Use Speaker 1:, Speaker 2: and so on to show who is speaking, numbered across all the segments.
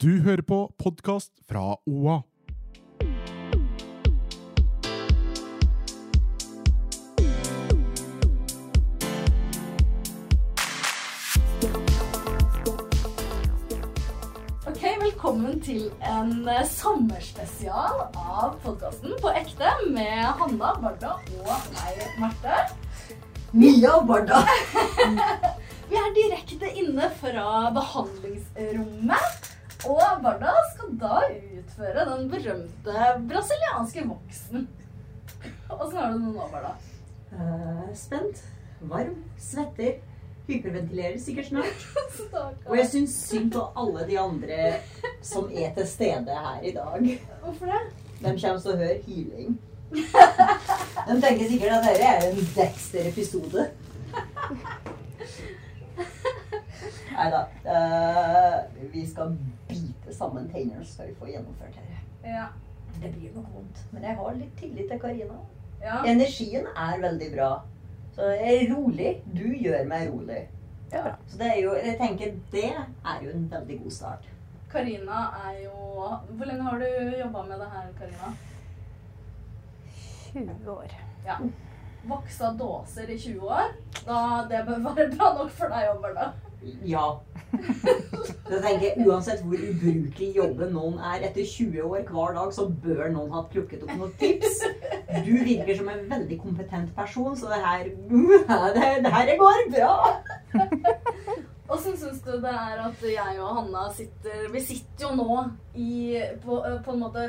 Speaker 1: Du hører på podkast fra OA.
Speaker 2: Ok, Velkommen til en eh, sommerspesial av podkasten På ekte med Hanna, Barda og meg, Marte. Mia og Barda. Vi er direkte inne fra behandlingsrommet. Og Barda skal da utføre den berømte brasilianske voksen. Åssen har du det nå, Barda?
Speaker 3: Eh, spent, varm, svetter, hyperventilerer sikkert snart. Og jeg
Speaker 2: Stakkar.
Speaker 3: syns synd på alle de andre som er til stede her i dag.
Speaker 2: Hvorfor det?
Speaker 3: De kommer til å høre hyling. De tenker sikkert at dette er en Dexter-episode. Nei da. eh, vi skal bite sammen tennene så vi får gjennomført dette.
Speaker 2: Ja.
Speaker 3: Det blir nok vondt, men jeg har litt tillit til Karina.
Speaker 2: ja.
Speaker 3: Energien er veldig bra. Så jeg er rolig. Du gjør meg rolig.
Speaker 2: Ja.
Speaker 3: Så det er jo, jeg tenker det er jo en veldig god start.
Speaker 2: Karina er jo Hvor lenge har du jobba med det her, Karina?
Speaker 4: 20 år.
Speaker 2: Ja. Voksa dåser i 20 år. Da, det bør være bra nok for deg, jobber da.
Speaker 3: Ja. Så jeg tenker Uansett hvor ubrukelig jobben noen er etter 20 år hver dag, så bør noen ha plukket opp noen tips. Du virker som en veldig kompetent person, så det her, det, det her går bra.
Speaker 2: Åssen syns du det er at jeg og Hanna sitter Vi sitter jo nå i på, eh, på en måte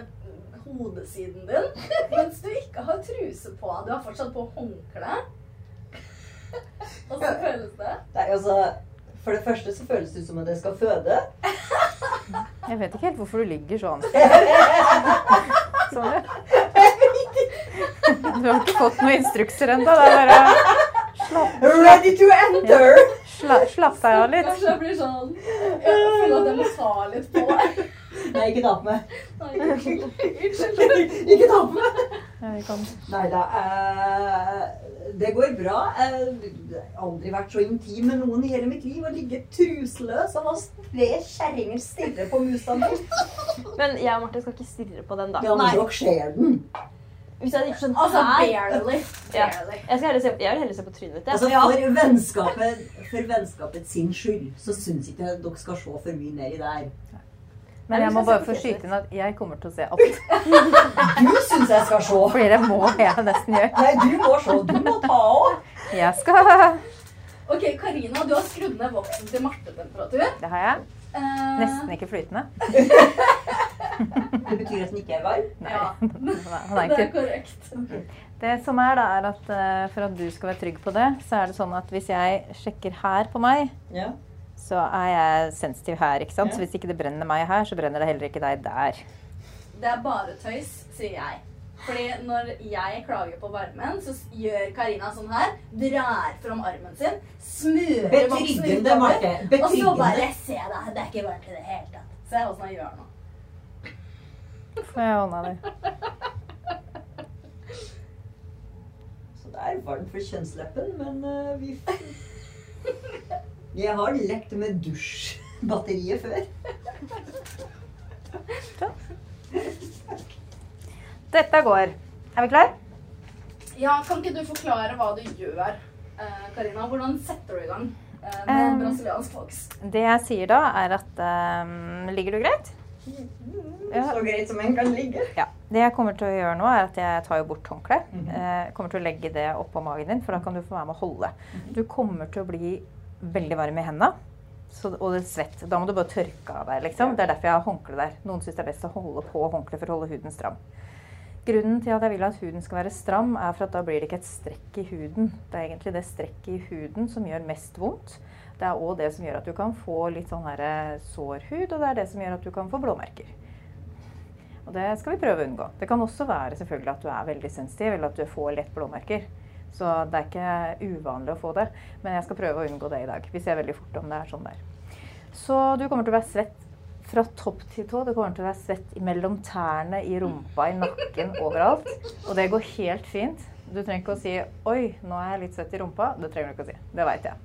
Speaker 2: hodesiden din, mens du ikke har truse på. Du har fortsatt på håndkle. Åssen føles det?
Speaker 3: Nei, altså, For det første så føles det ut som at jeg skal føde.
Speaker 4: Jeg vet ikke helt hvorfor du ligger sånn. sånn ja. Du har ikke fått noen instrukser ennå. Det er bare
Speaker 3: Ready to enter!
Speaker 4: sla, slapp deg av litt.
Speaker 2: Kanskje jeg blir sånn Jeg føler at jeg må ta litt på deg.
Speaker 3: Nei, ikke ta på meg.
Speaker 2: Nei, Unnskyld. Unnskyld.
Speaker 3: Ikke ta på meg.
Speaker 4: Ja, vi kan-
Speaker 3: Nei da. eh, det går bra. Jeg har aldri vært så intim med noen i hele mitt liv. Å ligge truseløs og ha tre kjerringer stille på musa mi.
Speaker 5: Men jeg og Marte skal ikke stirre på den, da.
Speaker 3: Ja, men dere ser den.
Speaker 5: Hvis jeg ikke sånn
Speaker 2: Altså
Speaker 5: her
Speaker 2: barely.
Speaker 5: Ja.
Speaker 2: Barely.
Speaker 5: Jeg, skal heller se, jeg vil heller se på trynet ditt. jeg.
Speaker 3: Altså, for, vennskapet, for vennskapet sin skyld så syns ikke jeg dere skal se for mye nedi der.
Speaker 4: Men jeg må bare få skyte inn at jeg kommer til å se alt.
Speaker 3: Du syns jeg skal se.
Speaker 4: Fordi det må jeg nesten gjøre.
Speaker 3: Nei, du må se. Du må ta av.
Speaker 4: Jeg skal
Speaker 2: Ok, Karina, du har skrudd ned voksen til Marte-temperatur.
Speaker 4: Det har jeg.
Speaker 2: Eh,
Speaker 4: Nesten ikke flytende.
Speaker 3: Det betyr at den ikke er varm.
Speaker 4: Nei.
Speaker 2: Ja,
Speaker 4: Han er
Speaker 2: det er
Speaker 4: ikke.
Speaker 2: korrekt.
Speaker 4: Det som er, da, er at eh, for at du skal være trygg på det, så er det sånn at hvis jeg sjekker her på meg,
Speaker 3: Ja.
Speaker 4: så er jeg sensitiv her, ikke sant?
Speaker 3: Ja.
Speaker 4: Så hvis ikke det brenner meg her, så brenner det heller ikke deg der.
Speaker 2: Det er bare tøys, sier jeg. Fordi når jeg klager på varmen, så s- gjør Karina sånn her. Drar fram armen sin. Smører voksen
Speaker 3: Betryggende,
Speaker 2: utover,
Speaker 3: Marte.
Speaker 2: Og så bare
Speaker 3: Betryggende.
Speaker 2: Se deg, det er ikke varmt i det hele tatt. Se åssen jeg sånn, gjør nå.
Speaker 4: Får jeg hånda di?
Speaker 3: Så det er varmt for kjønnsleppen, men eh, vi Jeg har lekt med dusjbatteriet før.
Speaker 4: Dette går. Er vi klar?
Speaker 2: Ja, kan ikke du forklare hva du gjør, eh, Karina? Hvordan setter du i gang eh, med
Speaker 4: Um,
Speaker 2: brasiliansk voks?
Speaker 4: Det jeg sier da, er at ehm, Ligger du greit? Ja.
Speaker 3: Så greit som en kan ligge.
Speaker 4: Ja. Det jeg kommer til å gjøre nå, er at jeg tar jo bort håndkleet. Eh, kommer til å legge det oppå magen din, for da kan du få være med å holde. Du kommer til å bli veldig varm i hendene. Så, og det er svett. Da må du bare tørke av deg. liksom. Det er derfor jeg har håndkle der. Noen syns det er best å holde på håndkleet for å holde huden stram. Grunnen til at jeg vil at huden skal være stram, er for at da blir det ikke et strekk i huden. Det er egentlig det strekket i huden som gjør mest vondt. Det er òg det som gjør at du kan få litt sånn her eh, sår hud, og det er det som gjør at du kan få blåmerker. Og det skal vi prøve å unngå. Det kan også være selvfølgelig at du er veldig sensitiv, eller at du får lett blåmerker. Så det er ikke uvanlig å få det. Men jeg skal prøve å unngå det i dag. Vi ser veldig fort om det er sånn der. Så du kommer til å være svett fra topp til tå. Du kommer til å være svett mellom tærne, i rumpa, i nakken, overalt. Og det går helt fint. Du trenger ikke å si 'oi, nå er jeg litt svett i rumpa'. Det trenger du ikke å si. Det veit jeg.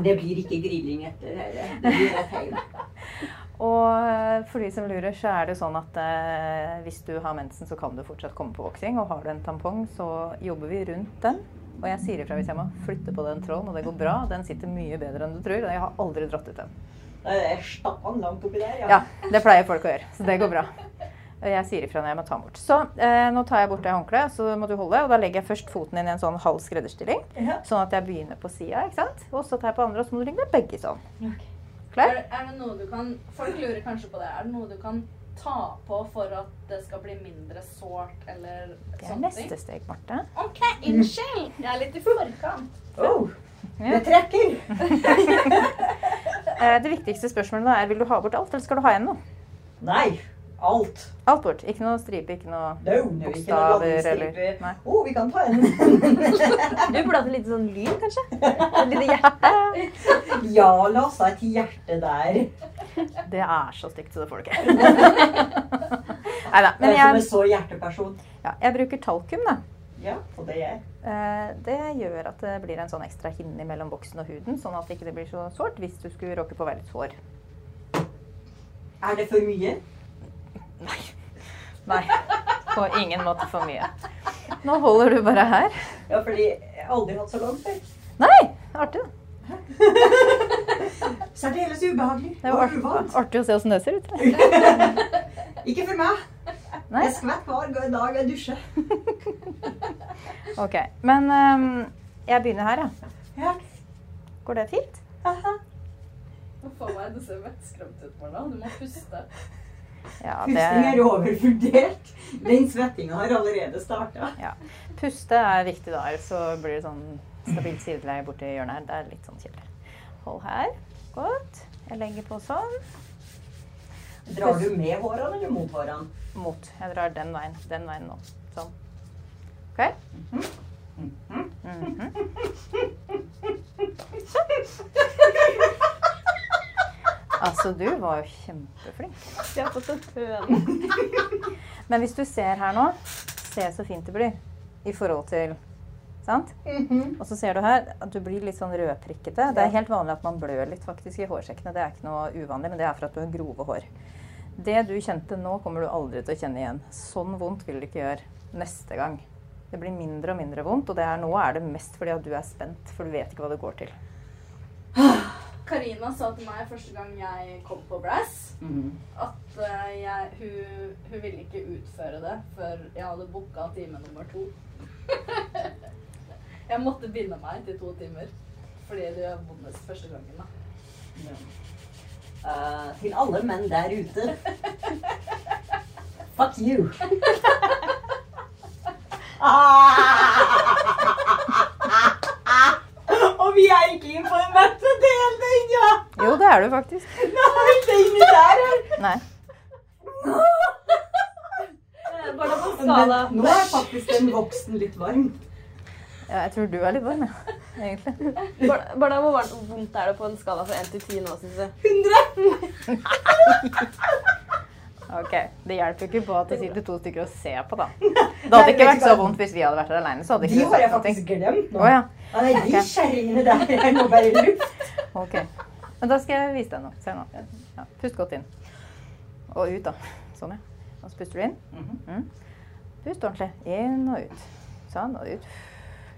Speaker 3: Det blir ikke grilling etter dette. Det blir bare feil.
Speaker 4: Og eh, for de som lurer, så er det sånn at eh, hvis du har mensen, så kan du fortsatt komme på voksing. Og har du en tampong, så jobber vi rundt den. Og jeg sier ifra hvis jeg må flytte på den tråden, og det går bra. Den sitter mye bedre enn du tror, og jeg har aldri dratt ut den.
Speaker 3: Da er stappa langt oppi der,
Speaker 4: Ja, det pleier folk å gjøre, så det går bra. Og Jeg sier ifra når jeg må ta den bort. Så eh, nå tar jeg bort det håndkleet, så må du holde. Og da legger jeg først foten din i en sånn halv skredderstilling,
Speaker 2: Ja.
Speaker 4: sånn at jeg begynner på sida, ikke sant. Og så tar jeg på andre, og så må du legge deg begge sånn.
Speaker 2: Er,
Speaker 4: Klar?
Speaker 2: er det noe du kan Folk lurer kanskje på det. Er det noe du kan ta på for at det skal bli mindre sårt, eller
Speaker 4: Det er neste steg, Marte.
Speaker 2: OK, unnskyld! Jeg er litt i forkant.
Speaker 3: Oh,
Speaker 4: det
Speaker 3: trekker!
Speaker 4: Eh, det viktigste spørsmålet nå er vil du ha bort alt, eller skal du ha igjen noe?
Speaker 3: Nei. Alt.
Speaker 4: Alt bort. Ikke noe stripe, ikke noe
Speaker 3: Det er jo ikke noe
Speaker 4: bokstaver
Speaker 3: blandingsstripe.
Speaker 4: eller Nei.
Speaker 3: Å, Oh, vi kan ta en
Speaker 5: Du burde hatt en liten sånn lyd, kanskje? Et lite hjerte.
Speaker 3: Ja, la oss ha et hjerte der.
Speaker 4: Det er så stygt, så det får du ikke. Nei da.
Speaker 3: Jeg
Speaker 4: Men
Speaker 3: er som en
Speaker 4: jeg,
Speaker 3: så hjerteperson.
Speaker 4: ja, jeg bruker talkum, da.
Speaker 3: Ja, og det er jeg.
Speaker 4: Eh, Det gjør at det blir en sånn ekstra hinne mellom boksen og huden, sånn at det ikke blir så sårt hvis du skulle råke på å være litt sår.
Speaker 3: Er det for mye?
Speaker 4: Nei, på ingen måte for mye. Nå holder du bare her.
Speaker 3: Ja, fordi jeg har aldri hatt så langt før.
Speaker 4: Nei, artig. da.
Speaker 3: Særdeles ubehagelig
Speaker 4: Det er jo
Speaker 3: og
Speaker 4: artig,
Speaker 3: uvant.
Speaker 4: artig å se åssen det ser ut.
Speaker 3: Ikke for meg.
Speaker 4: Nei,
Speaker 3: Jeg skvetter hver dag jeg dusjer.
Speaker 4: ok. Men ehm, jeg begynner her, ja.
Speaker 3: Ja.
Speaker 4: Går det fint?
Speaker 3: Aha.
Speaker 2: Nå får meg, Du ser vettskremt ut, Marna. Du må puste.
Speaker 4: Ja,
Speaker 3: Pusting er
Speaker 4: det,
Speaker 3: overvurdert. Den svettinga har allerede starta.
Speaker 4: puste er viktig da, ellers så blir det sånn stabilt sideleie borti hjørnet her. Det er litt sånn kjedelig. Hold her. Godt. Jeg legger på sånn.
Speaker 3: Drar du med hårene eller mot hårene?
Speaker 4: mot. Jeg drar den veien, den veien nå. Sånn. OK? Mhm. Altså, du var jo kjempeflink.
Speaker 5: Vi har fått en høne.
Speaker 4: Men hvis du ser her nå Se så fint det blir i forhold til Sant? Og så ser du her at du blir litt sånn rødprikkete. Det er helt vanlig at man blør litt faktisk i hårsekkene. Det er ikke noe uvanlig, men det er for at du har grove hår. Det du kjente nå, kommer du aldri til å kjenne igjen. Sånn vondt vil det ikke gjøre neste gang. Det blir mindre og mindre vondt, og det er, nå er det mest fordi at du er spent, for du vet ikke hva det går til.
Speaker 2: Karina sa til meg første gang jeg kom på Brass,
Speaker 4: Mhm.
Speaker 2: at eh, jeg, hun, hun ville ikke utføre det før jeg hadde booka time nummer to. jeg måtte binde meg til to timer. Fordi det gjør vondest første gangen. da.
Speaker 3: Eh, til alle menn der ute. Fuck you. Ah! Og vi er ikke informerte del ennå!
Speaker 4: Jo, det er du faktisk.
Speaker 3: Nei, det er inni der her.
Speaker 4: Nei.
Speaker 5: Bare på en
Speaker 3: Men
Speaker 5: skala.
Speaker 3: nå er faktisk den voksen litt varm.
Speaker 4: Ja, jeg tror du er litt varm, ja. egentlig.
Speaker 5: Bar- Barda, hvor varmt og vondt er det på en skala fra 1 til 10 nå, syns du?
Speaker 3: 100.
Speaker 4: Ok, Det hjelper jo ikke på at det sitter to stykker og ser på, da. Det hadde ikke vært så vondt hvis sånn- vi hadde vært her aleine. Så hadde
Speaker 3: De
Speaker 4: ikke du
Speaker 3: har jeg
Speaker 4: sagt noe.
Speaker 3: faktisk glemt nå.
Speaker 4: Å ja.
Speaker 3: Ja, det er de kjerringene der er nå bare luft.
Speaker 4: Ok. Men da skal jeg vise deg noe. Se nå. Ja, pust godt inn. Og ut, da. Sånn, ja. Og så puster du inn. Mm. Pust ordentlig. Inn og ut. Sånn og ut.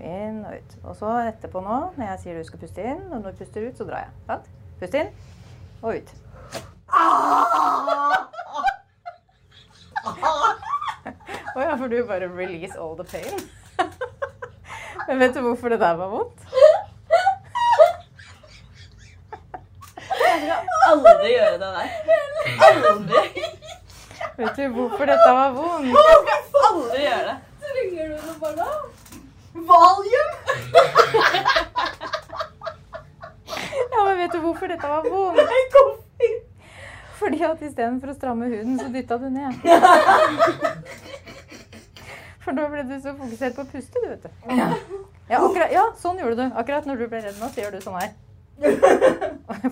Speaker 4: Inn og ut. Og så etterpå nå, når jeg sier du skal puste inn, og når du puster ut, så drar jeg. Sant? Pust inn og ut. Å ja, for du bare release all the pain. Men vet du hvorfor det der var vondt?
Speaker 5: Aldri gjøre det der. Aldri,
Speaker 4: Vet du hvorfor dette var vondt?
Speaker 5: aldri gjøre det.
Speaker 2: Trenger du noe, Barna?
Speaker 3: Valium!
Speaker 4: vet du hvorfor dette var vondt? Fordi at istedenfor å stramme huden, så dytta du ned. For da ble du så fokusert på å puste, du, vet du. Ja, akkurat, ja, sånn gjorde du. Akkurat når du ble redd nå, så gjør du sånn her.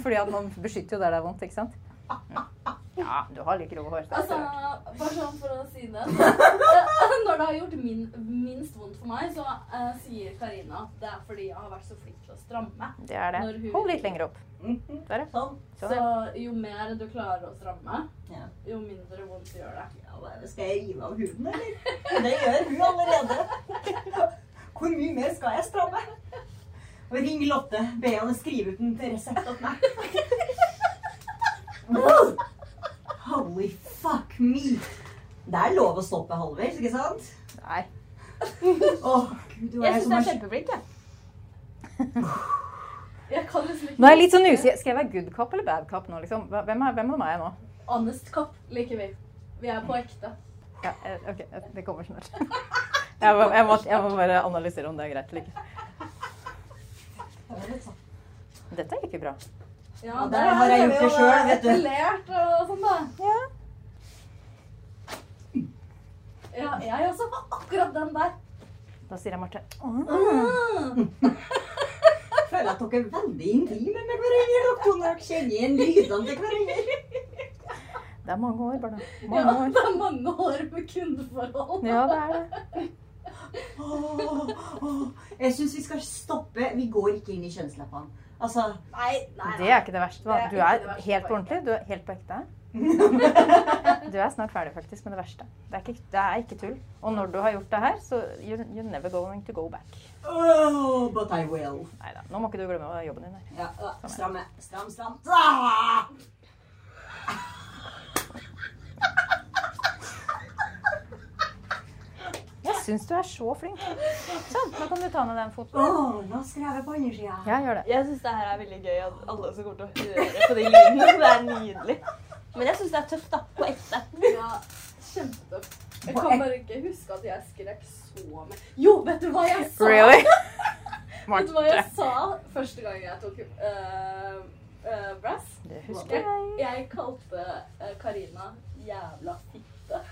Speaker 4: Fordi at man beskytter jo der det er vondt, ikke sant? Mm. Ja, du har like grove hår. så det er
Speaker 2: Altså,
Speaker 4: ikke rart.
Speaker 2: bare sånn for å si det. så- Når det har gjort min, minst vondt for meg, så eh, sier Karina at det er fordi jeg har vært så flink til å stramme.
Speaker 4: Det er
Speaker 2: Når
Speaker 4: det.
Speaker 2: hun-
Speaker 4: Hold litt lenger opp. Der, ja.
Speaker 3: Sånn.
Speaker 4: Sånn.
Speaker 2: Så jo mer du klarer å stramme,
Speaker 3: Ja.
Speaker 2: jo mindre vondt gjør det.
Speaker 3: Ja, hva er det? Skal jeg rive av huden, eller? Det gjør hun allerede. Hvor mye mer skal jeg stramme? Og ring Lotte. Be henne skrive ut en resept åt meg. Wow! Holy fuck me. Det er lov å stoppe halvveis, ikke sant?
Speaker 4: Nei.
Speaker 3: Åh, Gud, det var jeg
Speaker 5: Jeg syns
Speaker 3: som
Speaker 5: du
Speaker 3: var
Speaker 5: er kjempeflink, jeg.
Speaker 2: Jeg kan liksom ikke
Speaker 4: Nå er jeg litt sånn usikker. Skal jeg være good cop eller bad cop nå, liksom? Hva- Hvem, er, hvem av dem er jeg nå?
Speaker 2: Honest kopp liker vi. Vi er på ekte.
Speaker 4: Ja, eh, ok, eh, det kommer snart. Jeg må, jeg, må, jeg må bare analysere om det er greit eller ikke. Dette er ikke bra.
Speaker 2: Ja,
Speaker 3: der har jeg gjort det selv, vet du.
Speaker 2: Epilert og sånn, da.
Speaker 4: Ja.
Speaker 2: Ja, jeg også har akkurat den der.
Speaker 4: Da sier jeg Marte.
Speaker 3: Jeg føler at dere er veldig intime med hverandre. Dere dere kjenner igjen lydene til hverandre.
Speaker 4: Det er mange år, barna.
Speaker 2: Ja,
Speaker 4: Mange år.
Speaker 2: det er mange år med kundeforhold.
Speaker 4: Ja, det er det.
Speaker 3: Åh, åh. Jeg syns vi skal stoppe. Vi går ikke inn i kjønnsleppene. Altså,
Speaker 2: Nei, nei,
Speaker 4: Det er ikke det verste. Da. Du
Speaker 2: Det er ikke
Speaker 4: er
Speaker 2: det verste,
Speaker 4: helt på
Speaker 2: faktisk.
Speaker 4: ordentlig. Du er helt på ekte. Du er snart ferdig faktisk med det verste. Det er ikke, det er ikke tull. Og når du har gjort det her, så you're, you're never going to go back.
Speaker 3: oh, but I will.
Speaker 4: Neida, Nå må ikke du glemme jobben din her.
Speaker 3: Ja, ja, stramme, stram, stram. Ah!
Speaker 4: Jeg syns du er så flink. Sånn, nå kan du ta ned den foten.
Speaker 3: Åh, nå skrev jeg på andre sida.
Speaker 4: Ja, gjør det.
Speaker 5: Jeg syns det her er veldig gøy at alle som kommer til å høre på de lydene, det er nydelig. Men jeg syns det er tøft, da. På ekte.
Speaker 2: Ja, kjempetøft. Jeg kan bare ikke huske at jeg skrek så mye. Jo, vet du hva jeg sa?
Speaker 4: Really?
Speaker 2: Vet du hva jeg
Speaker 4: Marte.
Speaker 2: sa første gang jeg tok eh, eh, brass?
Speaker 4: Det husker
Speaker 2: Jeg,
Speaker 4: jeg.
Speaker 2: jeg kalte eh, Karina jævla fitte.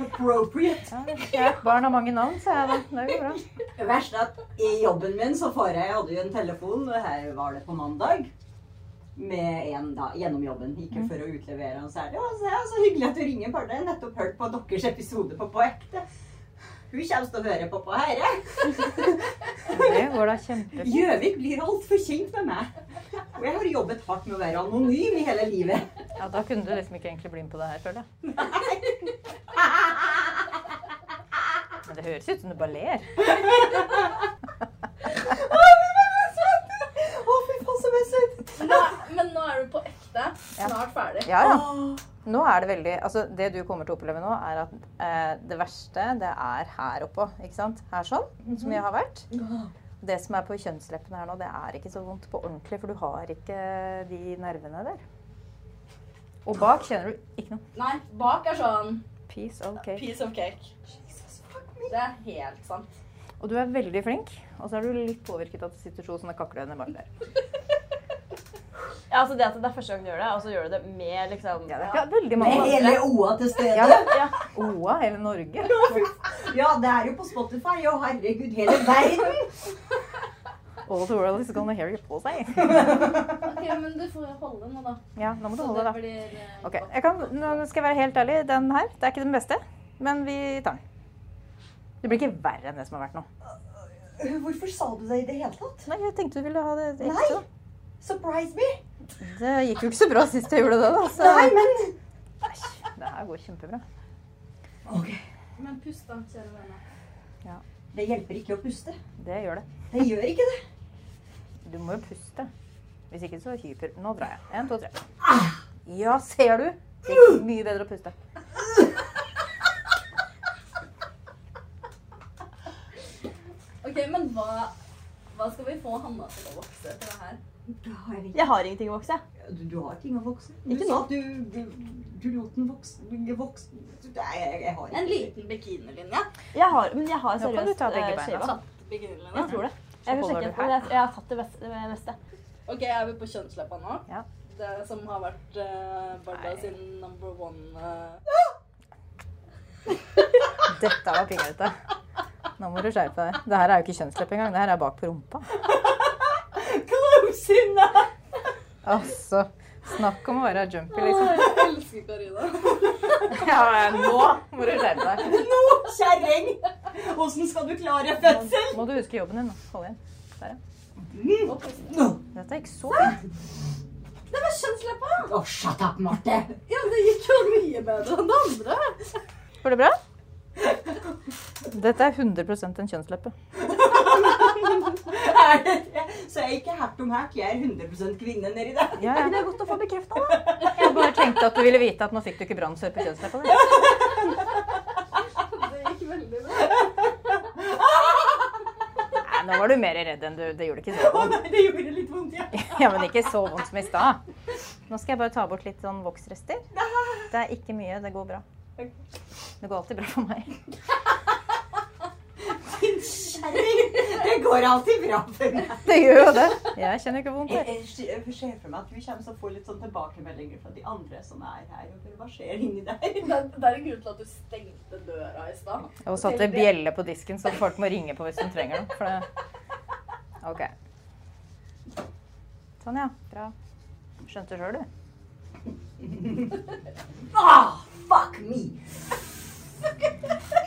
Speaker 3: Appropriate.
Speaker 4: Ja, Jeg er et barn av mange navn, sa jeg da. Det går bra.
Speaker 3: Det verste er at i jobben min så får jeg, jeg hadde jo en telefon, og her var det på mandag. Med en da, gjennom jobben, ikke for å utlevere han særlig. Og så, ja, så hyggelig at du ringer, bare jeg har nettopp hørt på deres episode på På ekte. Hun kommer til å høre på På herre.
Speaker 4: Det går da kjempefint.
Speaker 3: Gjøvik blir altfor kjent med meg. Og jeg har jobbet hardt med å være anonym i hele livet.
Speaker 4: Ja, da kunne du liksom ikke egentlig bli med på det her, føler jeg. Men det høres ut som du bare ler.
Speaker 3: Å, fy faen, som jeg er søt!
Speaker 2: Nå, men nå er du på ekte. Snart ferdig.
Speaker 4: Ja, ja. Nå er det veldig Altså, det du kommer til å oppleve nå, er at eh, det verste, det er her oppå. Ikke sant? Her sånn, som jeg har vært. Det som er på kjønnsleppene her nå, det er ikke så vondt på ordentlig, for du har ikke de nervene der. Og bak kjenner du ikke noe.
Speaker 2: Nei, bak er sånn
Speaker 4: Peace, ok.
Speaker 2: piece of cake. Det er helt sant.
Speaker 4: Og du er veldig flink, og så er du litt påvirket av at det sitter to sånne kaklønner bak der.
Speaker 5: Ja, altså det at det er første gang du gjør det, og så gjør du det med liksom
Speaker 4: Ja, det er ikke veldig mange
Speaker 3: Med hele
Speaker 4: andre.
Speaker 3: OA til stede.
Speaker 4: Ja, ja. Oa, hele Norge.
Speaker 3: Ja, det er jo på Spotify. Å, herregud, hele verden!
Speaker 4: All the world is gonna hear you på seg.
Speaker 2: Ok, men du får holde nå, da.
Speaker 4: Ja, nå må du
Speaker 2: Så
Speaker 4: holde, da.
Speaker 2: blir, eh,
Speaker 4: Ok, jeg kan, nå skal jeg være helt ærlig. Den her det er ikke den beste, men vi tar den. Det blir ikke verre enn det som har vært nå.
Speaker 3: Hvorfor sa du det i det hele tatt?
Speaker 4: Nei, jeg tenkte du ville ha det
Speaker 3: Nei.
Speaker 4: ekstra.
Speaker 3: Surprise me!
Speaker 4: Det gikk jo ikke så bra sist jeg gjorde det, da. Så
Speaker 3: Nei, men
Speaker 4: Æsj, det her går kjempebra.
Speaker 3: Ok,
Speaker 2: Men pust, da, kjære vene.
Speaker 3: Det hjelper ikke å puste.
Speaker 4: Det gjør det.
Speaker 3: Det gjør ikke det.
Speaker 4: Du må jo puste. Hvis ikke så hyper Nå drar jeg. En, to, tre. Ja, ser du? Det gikk mye bedre å puste.
Speaker 2: Ok, men hva, hva skal vi få Hanna til å vokse til det her?
Speaker 3: Du har, ikke-
Speaker 5: Jeg har ingenting å vokse, jeg.
Speaker 3: du, du har ting å vokse. Du
Speaker 5: Ikke
Speaker 3: sa at du, du, du lot den vokse. du- vokse. Du- Nei, jeg, jeg har
Speaker 2: En
Speaker 3: ikke
Speaker 2: liten bikinilinje. Sånn
Speaker 5: jeg har, men jeg har
Speaker 4: Nå kan du
Speaker 5: seriøst
Speaker 4: ta
Speaker 5: eh,
Speaker 4: begge beina,
Speaker 5: skjeva.
Speaker 2: Bikinilinje.
Speaker 5: Jeg tror det. Jeg vil
Speaker 4: holder
Speaker 5: sjekke
Speaker 4: du
Speaker 5: etterpå.
Speaker 4: her.
Speaker 5: Jeg, jeg har tatt det eh, beste. Det beste.
Speaker 2: Ok, er vi på kjønnsleppa nå?
Speaker 4: Ja.
Speaker 2: Det som har vært uh, Barda sin number one eh,
Speaker 4: Dette var pinglete. Nå må du skjerpe deg. Det her er jo ikke kjønnslepp engang. Det her er bak på rumpa.
Speaker 2: Close enough!
Speaker 4: Altså, snakk om å være jumpy, liksom.
Speaker 2: Jeg elsker Karina.
Speaker 4: Ja, men nå må du skjerpe deg.
Speaker 3: Nå, kjerring! Åssen skal du klare fødsel?
Speaker 4: Må du huske jobben din. nå. Hold igjen. Der, ja.
Speaker 3: Mm. Nå.
Speaker 4: Dette gikk så fint.
Speaker 2: Det var kjønnsleppa!
Speaker 3: Å, shut up, Marte!
Speaker 2: Ja, det gikk jo mye bedre enn det andre.
Speaker 4: Går det bra? Dette er 100 en kjønnsleppe.
Speaker 3: Er det det? Så jeg er ikke hert om hert. Jeg er 100 kvinne nedi der.
Speaker 4: Ja,
Speaker 5: Men det
Speaker 4: ja.
Speaker 5: er godt å få bekrefta, da.
Speaker 4: Jeg bare tenkte at du ville vite at nå fikk du ikke brannsår på kjønnsleppa. di.
Speaker 2: Det gikk veldig bra.
Speaker 4: Nei, nå var du mer redd enn du Det gjorde ikke så
Speaker 3: Å
Speaker 4: vondt.
Speaker 3: nei, det gjorde det litt vondt, ja.
Speaker 4: Ja, men ikke så vondt som i stad. Nå skal jeg bare ta bort litt sånn voksrester. Det er ikke mye. Det går bra. Det går alltid bra for meg.
Speaker 3: Kjerring! Det går alltid bra for meg.
Speaker 4: Det gjør jo det. Jeg kjenner ikke vondt.
Speaker 3: Jeg,
Speaker 4: jeg.
Speaker 3: jeg ser- ser for meg at vi kommer til å få litt sånn tilbakemeldinger fra de andre som er her. og bare, Hva skjer inni der?
Speaker 2: Det, det er en grunn til at du stengte døra i stad.
Speaker 4: Og satte bjelle på disken, så folk må ringe på hvis de trenger noe. For det OK. Sånn, ja. Bra. Skjønte sjøl, du.
Speaker 3: Ah, fuck me!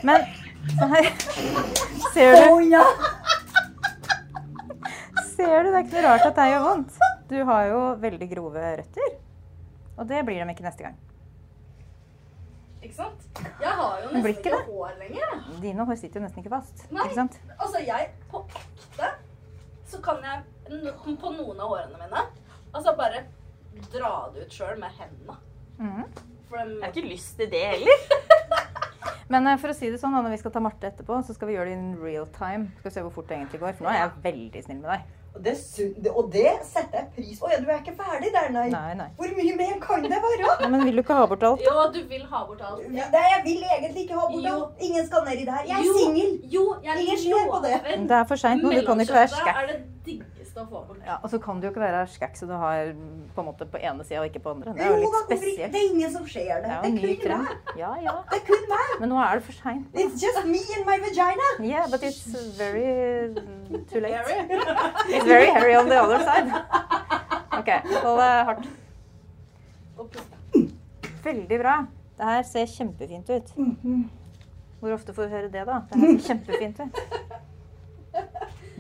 Speaker 4: Men sånn her
Speaker 3: Å
Speaker 4: Ser du,
Speaker 3: ja!
Speaker 4: ser du? Det er ikke noe rart at det gjør vondt. Du har jo veldig grove røtter. Og det blir de ikke neste gang.
Speaker 2: Ikke sant? Jeg har jo
Speaker 4: Men
Speaker 2: nesten
Speaker 4: blir ikke
Speaker 2: ikke hår lenger.
Speaker 4: Dine hår sitter jo nesten ikke fast.
Speaker 2: Nei.
Speaker 4: Ikke sant?
Speaker 2: Altså, jeg på ekte så kan jeg n- på noen av hårene mine altså bare dra det ut sjøl med hendene.
Speaker 4: Mhm.
Speaker 2: For dem-
Speaker 5: Jeg har ikke lyst til det heller.
Speaker 4: Men eh, for å si det sånn, da, når vi skal ta Marte etterpå, så skal vi gjøre det in real time. Skal vi se hvor fort det egentlig går. For nå er jeg veldig snill med deg.
Speaker 3: Og det, syn- det- og det setter jeg pris på. Å ja, du er ikke ferdig der, nei.
Speaker 4: Nei, nei.
Speaker 3: Hvor mye mer kan det være?
Speaker 4: Nei, men vil du ikke ha bort alt?
Speaker 2: Jo, du vil ha bort alt.
Speaker 3: Ja, Nei, jeg vil egentlig ikke ha bort
Speaker 2: Jo.
Speaker 3: alt. Ingen skal nedi der. Jeg
Speaker 2: Jo,
Speaker 3: er singel.
Speaker 2: Jo, jeg
Speaker 3: Ingen ser på det.
Speaker 4: Men Det er for seint nå. Du kan jo ikke være skækk.
Speaker 2: er det diggeste å få bort.
Speaker 4: Ja, og så kan du jo ikke være skækk så du har mm, på en måte på ene sida og ikke på andre. Det er
Speaker 3: Jo
Speaker 4: jo
Speaker 3: da,
Speaker 4: litt
Speaker 3: hvorfor ikke? Det
Speaker 4: spesielt.
Speaker 3: er ingen som ser det.
Speaker 4: Det er
Speaker 3: Det
Speaker 4: jo
Speaker 3: er
Speaker 4: en ny
Speaker 3: kun
Speaker 4: trend.
Speaker 3: meg.
Speaker 4: Ja, ja.
Speaker 3: Det er kun meg.
Speaker 4: Men nå er det for seint.
Speaker 3: It's just me and my vagina.
Speaker 4: Yeah, but it's very mm, too late. It's very hairy on the other side. OK. Hold det hardt.
Speaker 2: Og puste.
Speaker 4: Veldig bra. Det her ser kjempefint ut. Hvor ofte får vi høre det, da? Det her ser kjempefint ut.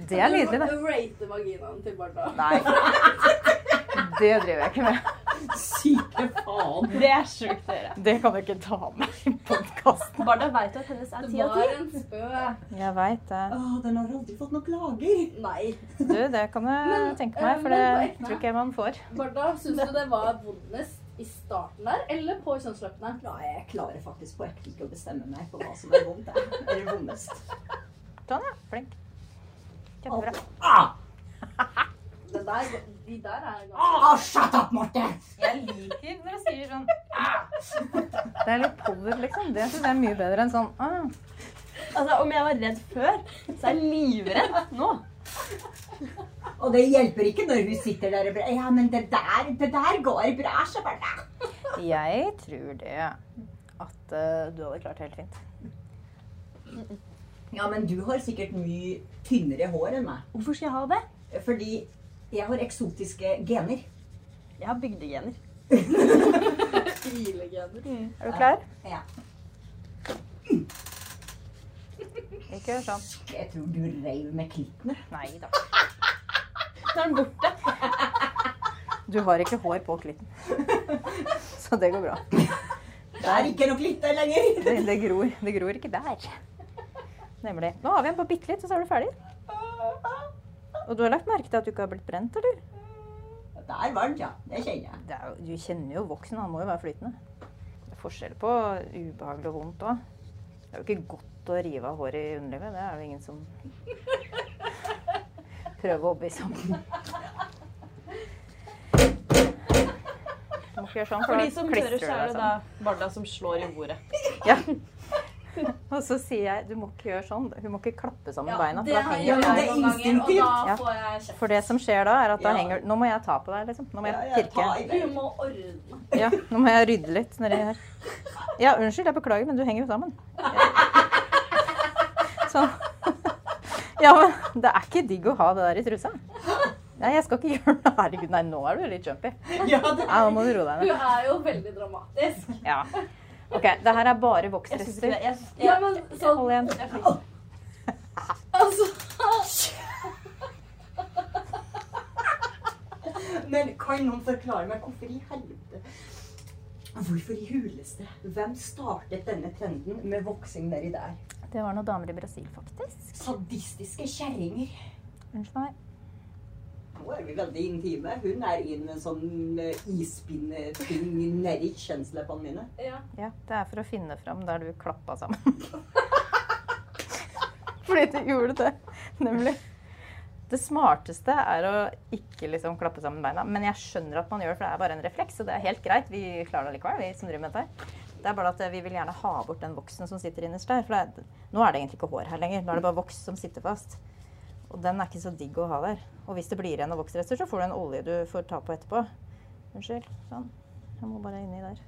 Speaker 4: Det er nydelig, det.
Speaker 2: Rate vaginaen til barna.
Speaker 4: Nei. Det driver jeg ikke med.
Speaker 3: Syke faen.
Speaker 5: Det er sjukt, dere.
Speaker 4: Det kan du ikke ta med i podkasten.
Speaker 5: Barda veit at hennes er
Speaker 2: Det
Speaker 5: ti av
Speaker 2: var
Speaker 5: ti.
Speaker 2: en spø.
Speaker 4: Jeg veit det.
Speaker 3: Åh, den har aldri fått noen klager.
Speaker 2: Nei.
Speaker 4: Du, det kan jeg
Speaker 2: Men,
Speaker 4: tenke meg,
Speaker 2: eh,
Speaker 4: for det
Speaker 2: men på ekte.
Speaker 4: tror ikke jeg man får.
Speaker 2: Barda, syns du det var vondest i starten der, eller på kjønnsløpene?
Speaker 3: Nei, jeg klarer faktisk på ekte ikke å bestemme meg for hva som er vondt. jeg. Eller vondest.
Speaker 4: Sånn, ja. Flink. Kjempebra.
Speaker 3: Ah,
Speaker 2: Det der, de der er ganske
Speaker 3: ah, shut up, Marte!
Speaker 4: Jeg liker når jeg sier sånn Det er litt power, liksom. Det syns jeg er mye bedre enn sånn ah.
Speaker 5: Altså, om jeg var redd før, så er jeg livredd nå.
Speaker 3: Og det hjelper ikke når hun sitter der og bare Ja, men det der, det der går bra, så bare
Speaker 4: Jeg tror det at eh, du hadde klart det helt fint.
Speaker 3: Ja, men du har sikkert mye tynnere hår enn meg.
Speaker 5: Hvorfor skal jeg ha det?
Speaker 3: Fordi jeg har eksotiske gener.
Speaker 5: Jeg har bygdegener.
Speaker 2: stilegener.
Speaker 4: Er du klar?
Speaker 3: Ja.
Speaker 4: Ikke gjør sånn.
Speaker 3: Jeg tror du reiv med klittene.
Speaker 4: Nei da.
Speaker 5: Nå er den borte.
Speaker 4: Du har ikke hår på klitten. Så det går bra.
Speaker 3: Det er ikke noe klitt der lenger.
Speaker 4: Det, det, gror, det gror ikke der. Nemlig. Nå har vi en på bitte litt, og så er du ferdig. Og du har lagt merke til at du ikke har blitt brent, eller?
Speaker 3: Det er varmt, ja. Det kjenner jeg.
Speaker 4: Det er, jo- du kjenner jo voksen, han må jo være flytende. Det er forskjell på ubehagelig og vondt òg. Det er jo ikke godt å rive av håret i underlivet. Det er jo ingen som prøver å overbevise om. Du må ikke gjøre sånn, for,
Speaker 5: For
Speaker 4: da
Speaker 5: de som tør,
Speaker 4: klistrer du
Speaker 5: så er
Speaker 4: deg sånn.
Speaker 5: det da
Speaker 4: sammen.
Speaker 5: Barda som slår i bordet.
Speaker 4: Ja. Og så sier jeg du må ikke gjøre sånn. Hun må ikke klappe sammen
Speaker 2: Ja,
Speaker 4: beina. for
Speaker 2: det
Speaker 4: da
Speaker 2: har
Speaker 4: henger
Speaker 2: jeg
Speaker 4: hun
Speaker 2: gjort
Speaker 4: der.
Speaker 2: noen ganger, og da
Speaker 4: Ja.
Speaker 2: får jeg kjeft.
Speaker 4: For det som skjer da, er at da
Speaker 2: Ja.
Speaker 4: henger Nå må jeg ta på deg, liksom. Nå må jeg pirke.
Speaker 2: Du må ordne.
Speaker 4: Ja, nå må jeg rydde litt nedi her. Ja, unnskyld, jeg beklager, men du henger jo sammen. Ja. Sånn. Ja, men det er ikke digg å ha det der i trusa. Nei, jeg skal ikke gjøre det. Herregud, nei, nå er du litt jumpy.
Speaker 2: Ja,
Speaker 4: det Nei, nå må du roe deg
Speaker 2: Hun
Speaker 4: ned.
Speaker 2: er jo veldig dramatisk.
Speaker 4: Ja. Ok, det her er bare
Speaker 2: Jeg synes ikke
Speaker 4: voksrester.
Speaker 2: det- jeg- Ja, men sånn
Speaker 4: Hold igjen.
Speaker 2: Altså
Speaker 3: Men kan noen forklare meg hvorfor i helvete Hvorfor i huleste? Hvem startet denne trenden med voksing nedi der?
Speaker 4: Det var noen damer i Brasil, faktisk.
Speaker 3: Sadistiske kjerringer.
Speaker 4: Unnskyld meg.
Speaker 3: Nå er vi veldig intime. Hun er i en sånn eh, ispinneting nedi kjønnsleppene mine.
Speaker 4: Ja, det er for å finne fram der du klappa sammen. Fordi du gjorde det, nemlig. Det smarteste er å ikke liksom klappe sammen beina. Men jeg skjønner at man gjør det, for det er bare en refleks. Og det er helt greit. Vi klarer det likevel, vi som driver med dette. her. Det er bare at eh, vi vil gjerne ha bort den voksen som sitter innerst der. For det er, nå er det egentlig ikke hår her lenger. Nå er det bare voks som sitter fast. Og den er ikke så digg å ha der. Og hvis det blir igjen av voksrester, så får du en olje du får ta på etterpå. Unnskyld. Sånn. Jeg må bare inni der.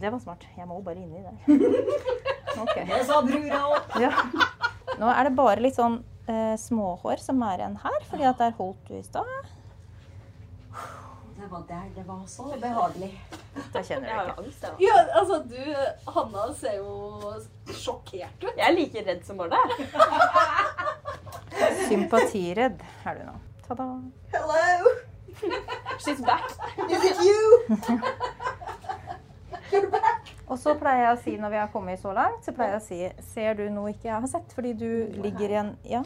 Speaker 4: Det var smart. Jeg må bare inni der. Ok.
Speaker 3: Det sa brura òg.
Speaker 4: Ja. Nå er det bare litt sånn eh, småhår som er igjen her, fordi at der holdt du i stad.
Speaker 3: Det var der det var så behagelig.
Speaker 4: Da kjenner
Speaker 5: Jeg
Speaker 4: du
Speaker 5: har
Speaker 4: ikke.
Speaker 5: jo angst, jeg.
Speaker 2: Ja, altså, du Hanna ser jo sjokkert ut.
Speaker 5: da. Jeg er like redd som bare deg.
Speaker 4: Sympatiredd er du nå. Ta-da.
Speaker 3: Hello!
Speaker 5: She's back.
Speaker 3: Is it you?
Speaker 4: Og så pleier jeg å si når vi har kommet så langt, så pleier jeg å si Ser du noe ikke jeg har sett? Fordi du ligger i en Ja.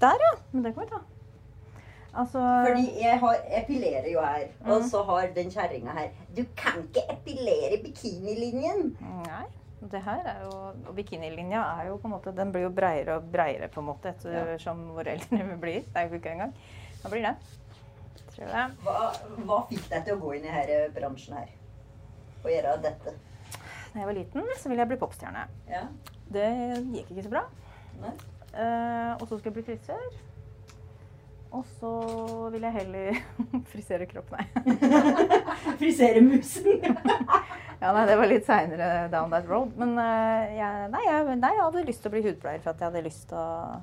Speaker 4: Der, ja. Men det kan vi ta. Altså
Speaker 3: Fordi jeg har, epilerer jo her, og så har den kjerringa her Du kan ikke epilere bikinilinjen!
Speaker 4: Nei. Det her er jo, og bikinilinja er jo på en måte, den blir jo breiere og breiere på en måte etter som hvor eldre vi blir. Det er jo ikke engang. Da blir det. Tror jeg.
Speaker 3: Hva, hva fikk deg til å gå inn i denne bransjen her? Og gjøre dette?
Speaker 4: Da jeg var liten, så ville jeg bli popstjerne.
Speaker 3: Ja.
Speaker 4: Det gikk ikke så bra.
Speaker 3: Nei.
Speaker 4: Eh, og så skulle jeg bli frisør. Og så ville jeg heller frisere kropp, nei.
Speaker 3: Frisere musen.
Speaker 4: Ja, nei, det var litt seinere down that road. Men eh, jeg, nei, jeg, nei, jeg hadde lyst til å bli hudpleier for at jeg hadde lyst til å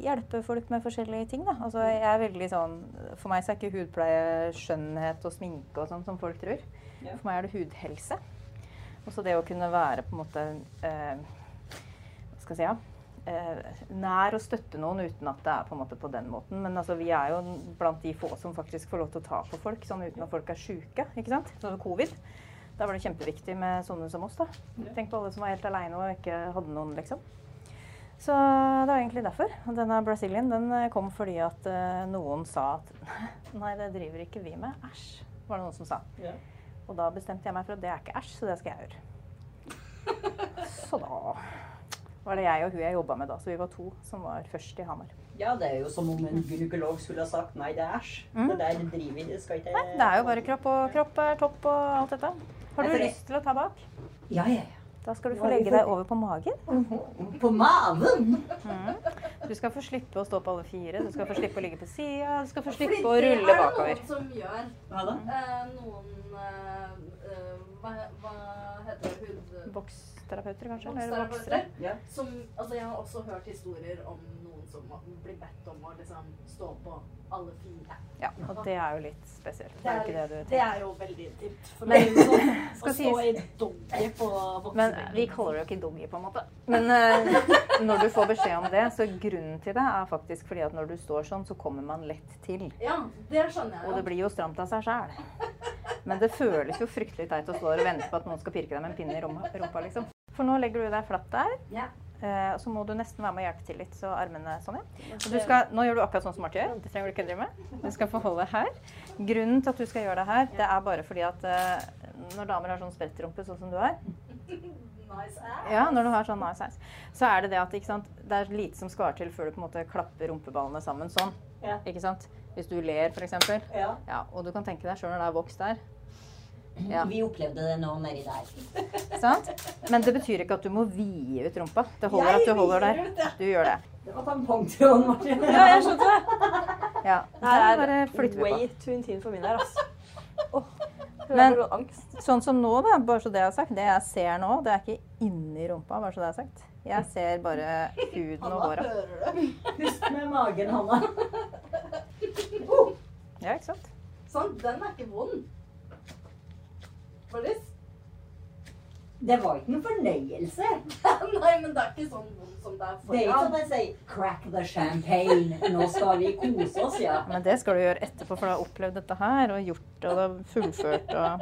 Speaker 4: hjelpe folk med forskjellige ting. Da. Altså, jeg er veldig sånn, for meg så er ikke hudpleie skjønnhet og sminke og sånn som folk tror.
Speaker 3: Ja.
Speaker 4: For meg er det hudhelse. Og så Altså, det å kunne være på en måte eh, Hva skal jeg si? Ja, eh, nær å støtte noen uten at det er på en måte på den måten. Men altså, vi er jo blant de få som faktisk får lov til å ta på folk sånn uten at folk er sjuke. Ikke sant? Sånn som covid. Da var det kjempeviktig med sånne som oss. da. Tenk på alle som var helt aleine og ikke hadde noen, liksom. Så det var egentlig derfor. Og Denne Brazilian den eh, kom fordi at eh, noen sa at nei, det driver ikke vi med. Æsj, var det noen som sa.
Speaker 3: Ja.
Speaker 4: Og da bestemte jeg meg for at det er ikke æsj, så det skal jeg gjøre. Så da var det jeg og hun jeg jobba med da, så vi var to som var først i Hamar.
Speaker 3: Ja, det er jo som om en gynekolog skulle ha sagt nei, det er æsj. Det der driver vi, det skal ikke
Speaker 4: Nei, det er jo bare kropp, og kropp er topp og alt dette. Har du
Speaker 3: Jeg får-
Speaker 4: lyst til å ta bak?
Speaker 3: Ja, ja,
Speaker 4: Da skal du
Speaker 3: Ja,
Speaker 4: få
Speaker 3: vi
Speaker 4: legge
Speaker 3: får-
Speaker 4: deg over på magen.
Speaker 3: ja. På maven!
Speaker 4: Du skal få slippe å stå på alle fire, du skal få slippe å ligge på sida, du skal få
Speaker 2: Fordi
Speaker 4: slippe å rulle
Speaker 2: Det
Speaker 4: bakover.
Speaker 2: er noen som gjør.
Speaker 3: Hva da?
Speaker 2: Eh, noen eh, eh, hva, hva heter det? Hud...
Speaker 4: Boksterapeuter, kanskje? Eller voksere.
Speaker 2: Boksterapeuter?
Speaker 3: Ja.
Speaker 2: Som, altså, jeg har også hørt historier om noen som må- blir bedt om å liksom, stå på alle fire.
Speaker 4: Ja, og det er jo litt spesielt. Det er jo ikke det du
Speaker 2: det
Speaker 4: tenker.
Speaker 2: er jo veldig intimt. For
Speaker 4: Men-
Speaker 2: å, sånn,
Speaker 4: Skal
Speaker 2: å stå i doggy på
Speaker 4: Men eh,
Speaker 2: voksebenken.
Speaker 4: vi kaller det jo ikke doggy, på en måte. Men eh, når du får beskjed om det, så grunnen til det er faktisk fordi at når du står sånn, så kommer man lett til.
Speaker 2: Ja, det skjønner
Speaker 4: Og det
Speaker 2: jeg.
Speaker 4: blir jo stramt av seg sjæl. Men det føles jo fryktelig teit å stå der og vente på at noen skal pirke deg med en pinne i rom- rumpa, liksom. For nå legger du deg flatt der.
Speaker 2: Ja.
Speaker 4: eh, og så må du nesten være med å hjelpe til litt, så armene sånn, ja. Og du skal, nå gjør du akkurat sånn som Marte gjør. Det trenger du ikke drive med. Du skal få holde her. Grunnen til at du skal gjøre det her, det er bare fordi at eh, når damer har sånn sprettrumpe sånn som du har,
Speaker 2: Nice ass.
Speaker 4: ja, når du har sånn nice ass, så er det det at ikke sant, det er lite som skal til før du på en måte klapper rumpeballene sammen sånn.
Speaker 3: Ja.
Speaker 4: Ikke sant? Hvis du ler, for eksempel.
Speaker 3: Ja.
Speaker 4: Ja, og du kan tenke deg sjøl når det er voks der. Ja.
Speaker 3: Vi opplevde det nå nedi der.
Speaker 4: Sant? Men det betyr ikke at du må vide ut rumpa. Det
Speaker 3: Jeg
Speaker 4: holder at du holder
Speaker 3: vider ut, ja.
Speaker 4: der. Du gjør det.
Speaker 3: Det var tampongtråden, Martin.
Speaker 5: Ja, jeg skjønte det.
Speaker 4: Ja.
Speaker 5: Det her
Speaker 4: Der bare
Speaker 5: er
Speaker 4: flytter vi på.
Speaker 5: way too intim for min her, altså. Åh, jeg
Speaker 4: Men-
Speaker 5: har fått angst.
Speaker 4: Sånn som nå, da, bare så det er sagt. Det jeg ser nå, det er ikke inni rumpa, bare så det er sagt. Jeg ser bare huden og håra.
Speaker 2: hører du?
Speaker 3: Pust med magen, Hanna.
Speaker 4: Ja, ikke sant?
Speaker 2: Sånn, den er ikke vond. Faktisk.
Speaker 3: Det var ikke noen fornøyelse.
Speaker 2: Nei, men det er ikke sånn vond som det er
Speaker 3: Det er ikke sånn
Speaker 2: foran.
Speaker 3: at jeg sier 'crack the champagne', nå skal vi kose oss, ja.
Speaker 4: Men det skal du gjøre etterpå, for du har opplevd dette her og gjort og det er fullført og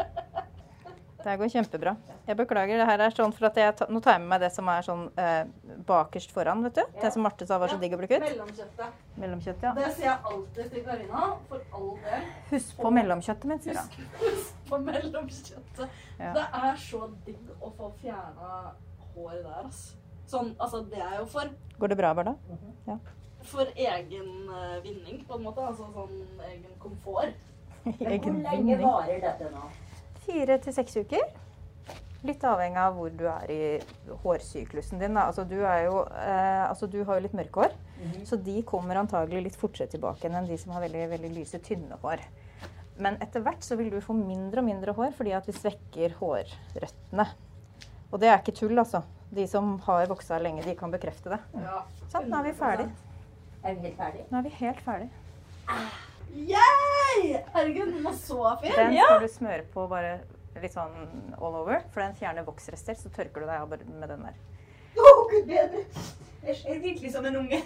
Speaker 4: Det her går kjempebra. Jeg beklager. det her er sånn for at jeg ta, Nå tar jeg med meg det som er sånn eh, bakerst foran, vet du. Det som Marte sa var så digg å bli kvitt.
Speaker 2: Mellomkjøttet.
Speaker 4: Mellomkjøtt, ja.
Speaker 2: Det sier jeg alltid til Karina, for all del.
Speaker 4: Husk på mellomkjøttet mitt, sier hun.
Speaker 2: Husk på mellomkjøttet.
Speaker 4: Ja.
Speaker 2: Det er så digg å få fjerna hår der, altså. Sånn, altså, det er jo for,
Speaker 4: Går det bra, Barda?
Speaker 2: for egen eh, vinning, på en måte. Altså sånn egen komfort.
Speaker 3: Men hvor
Speaker 4: Egen
Speaker 3: lenge
Speaker 4: vinning.
Speaker 3: varer dette nå?
Speaker 4: Fire til seks uker. Litt avhengig av hvor du er i hårsyklusen din. Da. Altså, du, er jo, eh, altså, du har jo litt mørke hår, så de kommer antagelig litt fortere tilbake enn de som har veldig, veldig lyse, tynne hår. Men etter hvert så vil du få mindre og mindre hår fordi at vi svekker hårrøttene. Og det er ikke tull, altså. De som har voksa lenge, de kan bekrefte det.
Speaker 2: Ja.
Speaker 4: Sånn, nå er vi ferdig.
Speaker 3: Er vi helt ferdig?
Speaker 4: Nå er vi helt ferdig.
Speaker 2: Yay! Herregud, den var så fin!
Speaker 4: Den skal du smøre på bare litt sånn all over, for den fjerner voksrester. Så tørker du deg av bare med den der.
Speaker 3: Å, gud bedre! Jeg ser virkelig som en unge.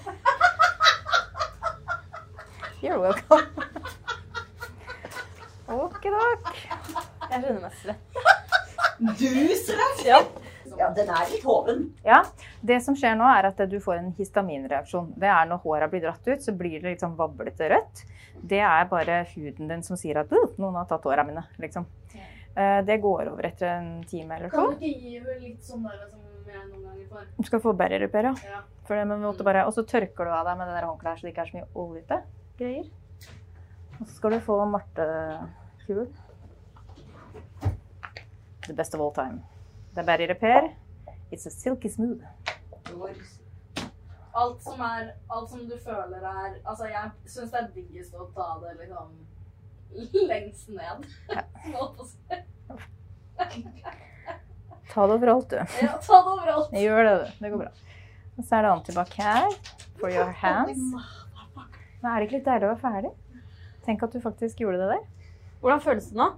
Speaker 4: You're welcome. Okidok.
Speaker 5: Jeg kjenner meg svett.
Speaker 3: Du svett!
Speaker 5: Ja.
Speaker 3: Ja, den er litt hoven.
Speaker 4: Ja, det som skjer nå er at du får en histaminreaksjon. Det er når håret blir dratt ut, så blir det litt sånn vablete rødt. Det er bare huden din som sier at «Uh, noen har tatt håra mine, liksom. Eh, Det går over etter en time eller
Speaker 2: Kan
Speaker 4: to.
Speaker 2: du ikke gi henne litt sånn der som jeg noen ganger får?
Speaker 4: Du skal få berry repair, ja.
Speaker 2: Ja.
Speaker 4: For det, men vi måtte
Speaker 3: Mm.
Speaker 4: bare, og så tørker du av deg med det der håndkleet her, så det ikke er så mye oljete greier. Og så skal du få Marte-kul. The best of all time. Det er berry repair. It's a silky smooth.
Speaker 2: Alt som, er, alt som du føler er Altså, jeg syns det er diggest å ta det liksom lengst ned. Som jeg holdt på å si.
Speaker 4: Ta det overalt, du.
Speaker 2: Ja, ta det overalt.
Speaker 4: Jeg gjør det, du. Det går bra. Og så er det antibac her. For your hands. Men er det ikke litt deilig å være ferdig? Tenk at du faktisk gjorde det der.
Speaker 5: Hvordan føles det nå?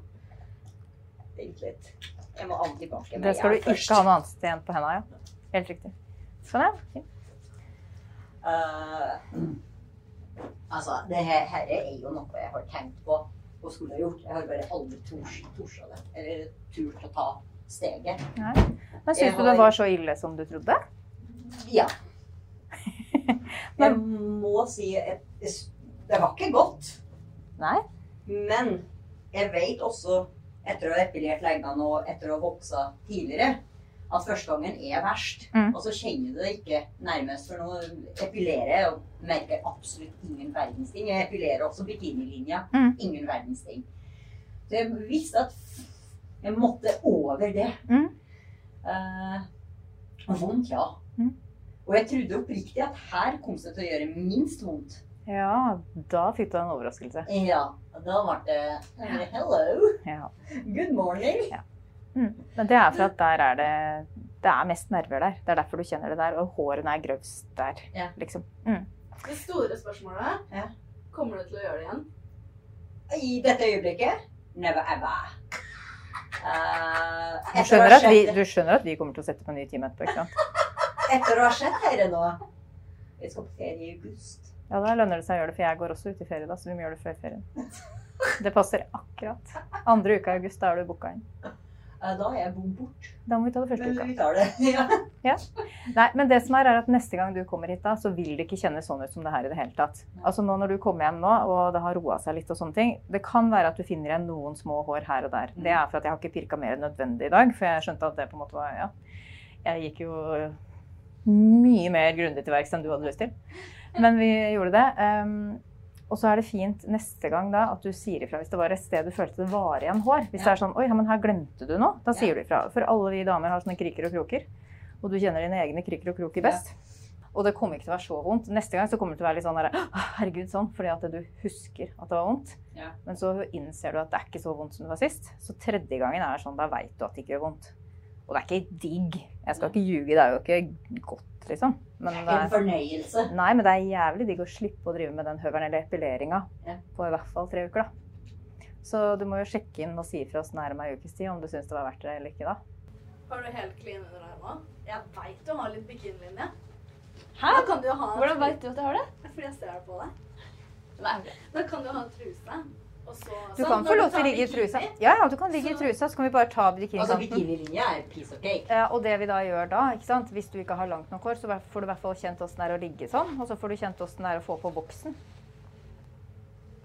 Speaker 3: Vent litt. Jeg må aldri bake meg.
Speaker 4: Det skal du
Speaker 3: Jeg er først.
Speaker 4: ikke ha noe annet sted enn på henda, ja. Helt riktig. Sånn, ja. Fint.
Speaker 3: Eh, altså, det her, her er jo noe jeg har tenkt på og skulle ha gjort. Jeg har bare aldri tors, torsa det. Eller turt å ta steget.
Speaker 4: Nei. Men syns du det var så ille som du trodde?
Speaker 3: Ja. Jeg
Speaker 4: Men-
Speaker 3: må si at jeg s- det var ikke godt.
Speaker 4: Nei.
Speaker 3: Men jeg vet også, etter å ha epilert leggene og etter å ha voksa tidligere, at første gangen er verst.
Speaker 4: Mm.
Speaker 3: Og så kjenner du det ikke nærmest. For nå epilerer jeg og merker absolutt ingen verdens ting. Jeg epilerer også bikinilinja.
Speaker 4: Mm.
Speaker 3: Ingen verdens ting. Så jeg visste at jeg måtte over det.
Speaker 4: Mm.
Speaker 3: Eh, og vondt, ja.
Speaker 4: Mm.
Speaker 3: Og jeg trodde oppriktig at her kom det til å gjøre minst vondt.
Speaker 4: Ja, da fikk du en overraskelse.
Speaker 3: Ja, og da ble det eh, Hello!
Speaker 4: Ja.
Speaker 3: Good morning!
Speaker 4: Mm. Men det er for at der er det Det er mest nerver der. Det er derfor du kjenner det der. Og hårene er grøvst der,
Speaker 3: Ja.
Speaker 4: liksom. Mm.
Speaker 2: Det store spørsmålet
Speaker 3: Ja.
Speaker 2: Kommer du til å gjøre det igjen?
Speaker 3: I dette øyeblikket never ever. Eh,
Speaker 4: Du,
Speaker 3: etter, å
Speaker 4: skjønner
Speaker 3: ha
Speaker 4: at vi,
Speaker 3: sett,
Speaker 4: du skjønner at vi kommer til å sette på en ny time etterpå, ikke sant?
Speaker 3: etter å ha sett dere nå Vi skal på ferie i august.
Speaker 4: Ja, da lønner det seg å gjøre det, for jeg går også ut i ferie da, så vi må gjøre det før ferien. Det passer akkurat. Andre uka i august, da er du booka inn.
Speaker 3: Eh, da har jeg bodd bort.
Speaker 4: Da må vi ta det første
Speaker 3: Men
Speaker 4: uka.
Speaker 3: vi tar det. ja.
Speaker 4: Nei, men det som er, er at neste gang du kommer hit da, så vil det ikke kjennes sånn ut som det her i det hele tatt. Altså nå når du kommer hjem nå, og det har roa seg litt og sånne ting, det kan være at du finner igjen noen små hår her og der. Det er for at jeg har ikke pirka mer enn nødvendig i dag, for jeg skjønte at det på en måte var, ja. Jeg gikk jo mye mer grundig til verks enn du hadde lyst til. Men vi gjorde det. Ehm, Og så er det fint neste gang da at du sier ifra hvis det var et sted du følte det var igjen hår. Hvis det er sånn 'Oi, ja, men her glemte du noe', da sier du ifra. For alle vi damer har sånne kriker og kroker. Og du kjenner dine egne kriker og kroker best. Og det kommer ikke til å være så vondt. Neste gang så kommer det til å være litt sånn der, «Å, herregud, sånn, fordi at du husker at det var vondt.
Speaker 3: Ja.
Speaker 4: Men så innser du at det er ikke så vondt som det var sist. Så tredje gangen er sånn, da veit du at det ikke gjør vondt. Og det er ikke digg. Jeg skal ikke ljuge, det er jo ikke godt, liksom. Men det
Speaker 3: En
Speaker 4: er,
Speaker 3: fornøyelse.
Speaker 4: nei, men det er jævlig digg å slippe å drive med den høveren eller epileringa
Speaker 3: Ja.
Speaker 4: på i hvert fall tre uker, da. Så du må jo sjekke inn og si ifra oss nærme ei ukes tid om du syns det var verdt det eller ikke, da.
Speaker 2: Har du helt clean under arma? Jeg veit du har litt bikinilinje. Hæ? Da kan du jo ha en
Speaker 5: Hvordan veit du at jeg har det?
Speaker 2: Fordi jeg ser det på deg.
Speaker 5: Nei.
Speaker 2: Da kan du ha en truse. Og så,
Speaker 4: Du
Speaker 2: sånn,
Speaker 4: kan
Speaker 2: når
Speaker 4: få lov
Speaker 2: tar
Speaker 4: til å ligge i
Speaker 2: bikini,
Speaker 4: trusa. Ja, ja, du kan ligge i
Speaker 2: så-
Speaker 4: trusa, så kan vi bare ta
Speaker 3: Altså,
Speaker 4: bikinikanten.
Speaker 3: bikinilinje er piece of cake.
Speaker 4: Eh, Og det vi da gjør da, ikke sant? hvis du ikke har langt nok hår, så hver- får du i hvert fall kjent åssen det er å ligge sånn. Og så får du kjent åssen det er å få på boksen.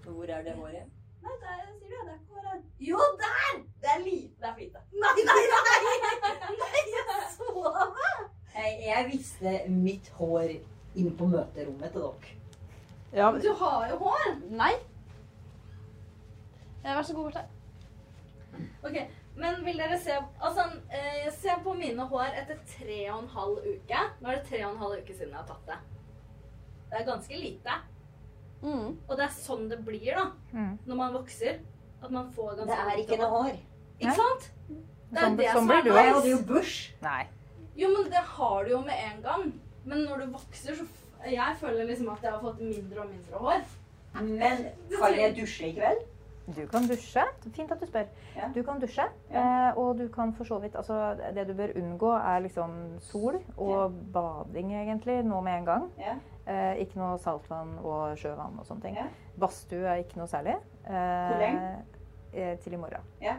Speaker 3: Hvor er det håret?
Speaker 2: Nei, der sier du det. Det er ikke bare- Jo, der! Det er lite. Det er fint. Nei, nei, nei! Nei, jeg så det!
Speaker 3: Jeg, jeg visste mitt hår inn på møterommet til dere.
Speaker 5: Ja,
Speaker 2: Du har jo hår.
Speaker 5: Nei. Ja, Vær så god, Marte.
Speaker 2: Ok, men vil dere se Altså, eh, se på mine hår etter tre og en halv uke. Nå er det tre og en halv uke siden jeg har tatt det. Det er ganske lite.
Speaker 5: Mm.
Speaker 2: Og det er sånn det blir, da.
Speaker 4: Mm.
Speaker 2: Når man vokser. At man får ganske
Speaker 3: Det er
Speaker 2: lite
Speaker 3: ikke noe hår.
Speaker 2: Ikke sant? Det er
Speaker 4: Sånn-
Speaker 2: det
Speaker 4: sånn
Speaker 2: som
Speaker 4: blir
Speaker 2: er
Speaker 4: du,
Speaker 3: Jeg hadde
Speaker 2: nice.
Speaker 3: jo bush.
Speaker 4: Nei.
Speaker 2: Jo, men det har du jo med en gang. Men når du vokser, så f- Jeg føler liksom at jeg har fått mindre og mindre hår.
Speaker 3: Men kan jeg dusje i kveld?
Speaker 4: Du kan dusje. Fint at du spør.
Speaker 3: Ja.
Speaker 4: Du kan dusje, eh, og du kan for så vidt Altså, det du bør unngå, er liksom sol og bading, egentlig, nå med en gang.
Speaker 3: Ja.
Speaker 4: Eh, ikke noe saltvann og sjøvann og sånne ting.
Speaker 3: Ja.
Speaker 4: Badstue er ikke noe særlig. Eh,
Speaker 3: Hvor lenge?
Speaker 4: eh, Til i morgen.
Speaker 3: Ja.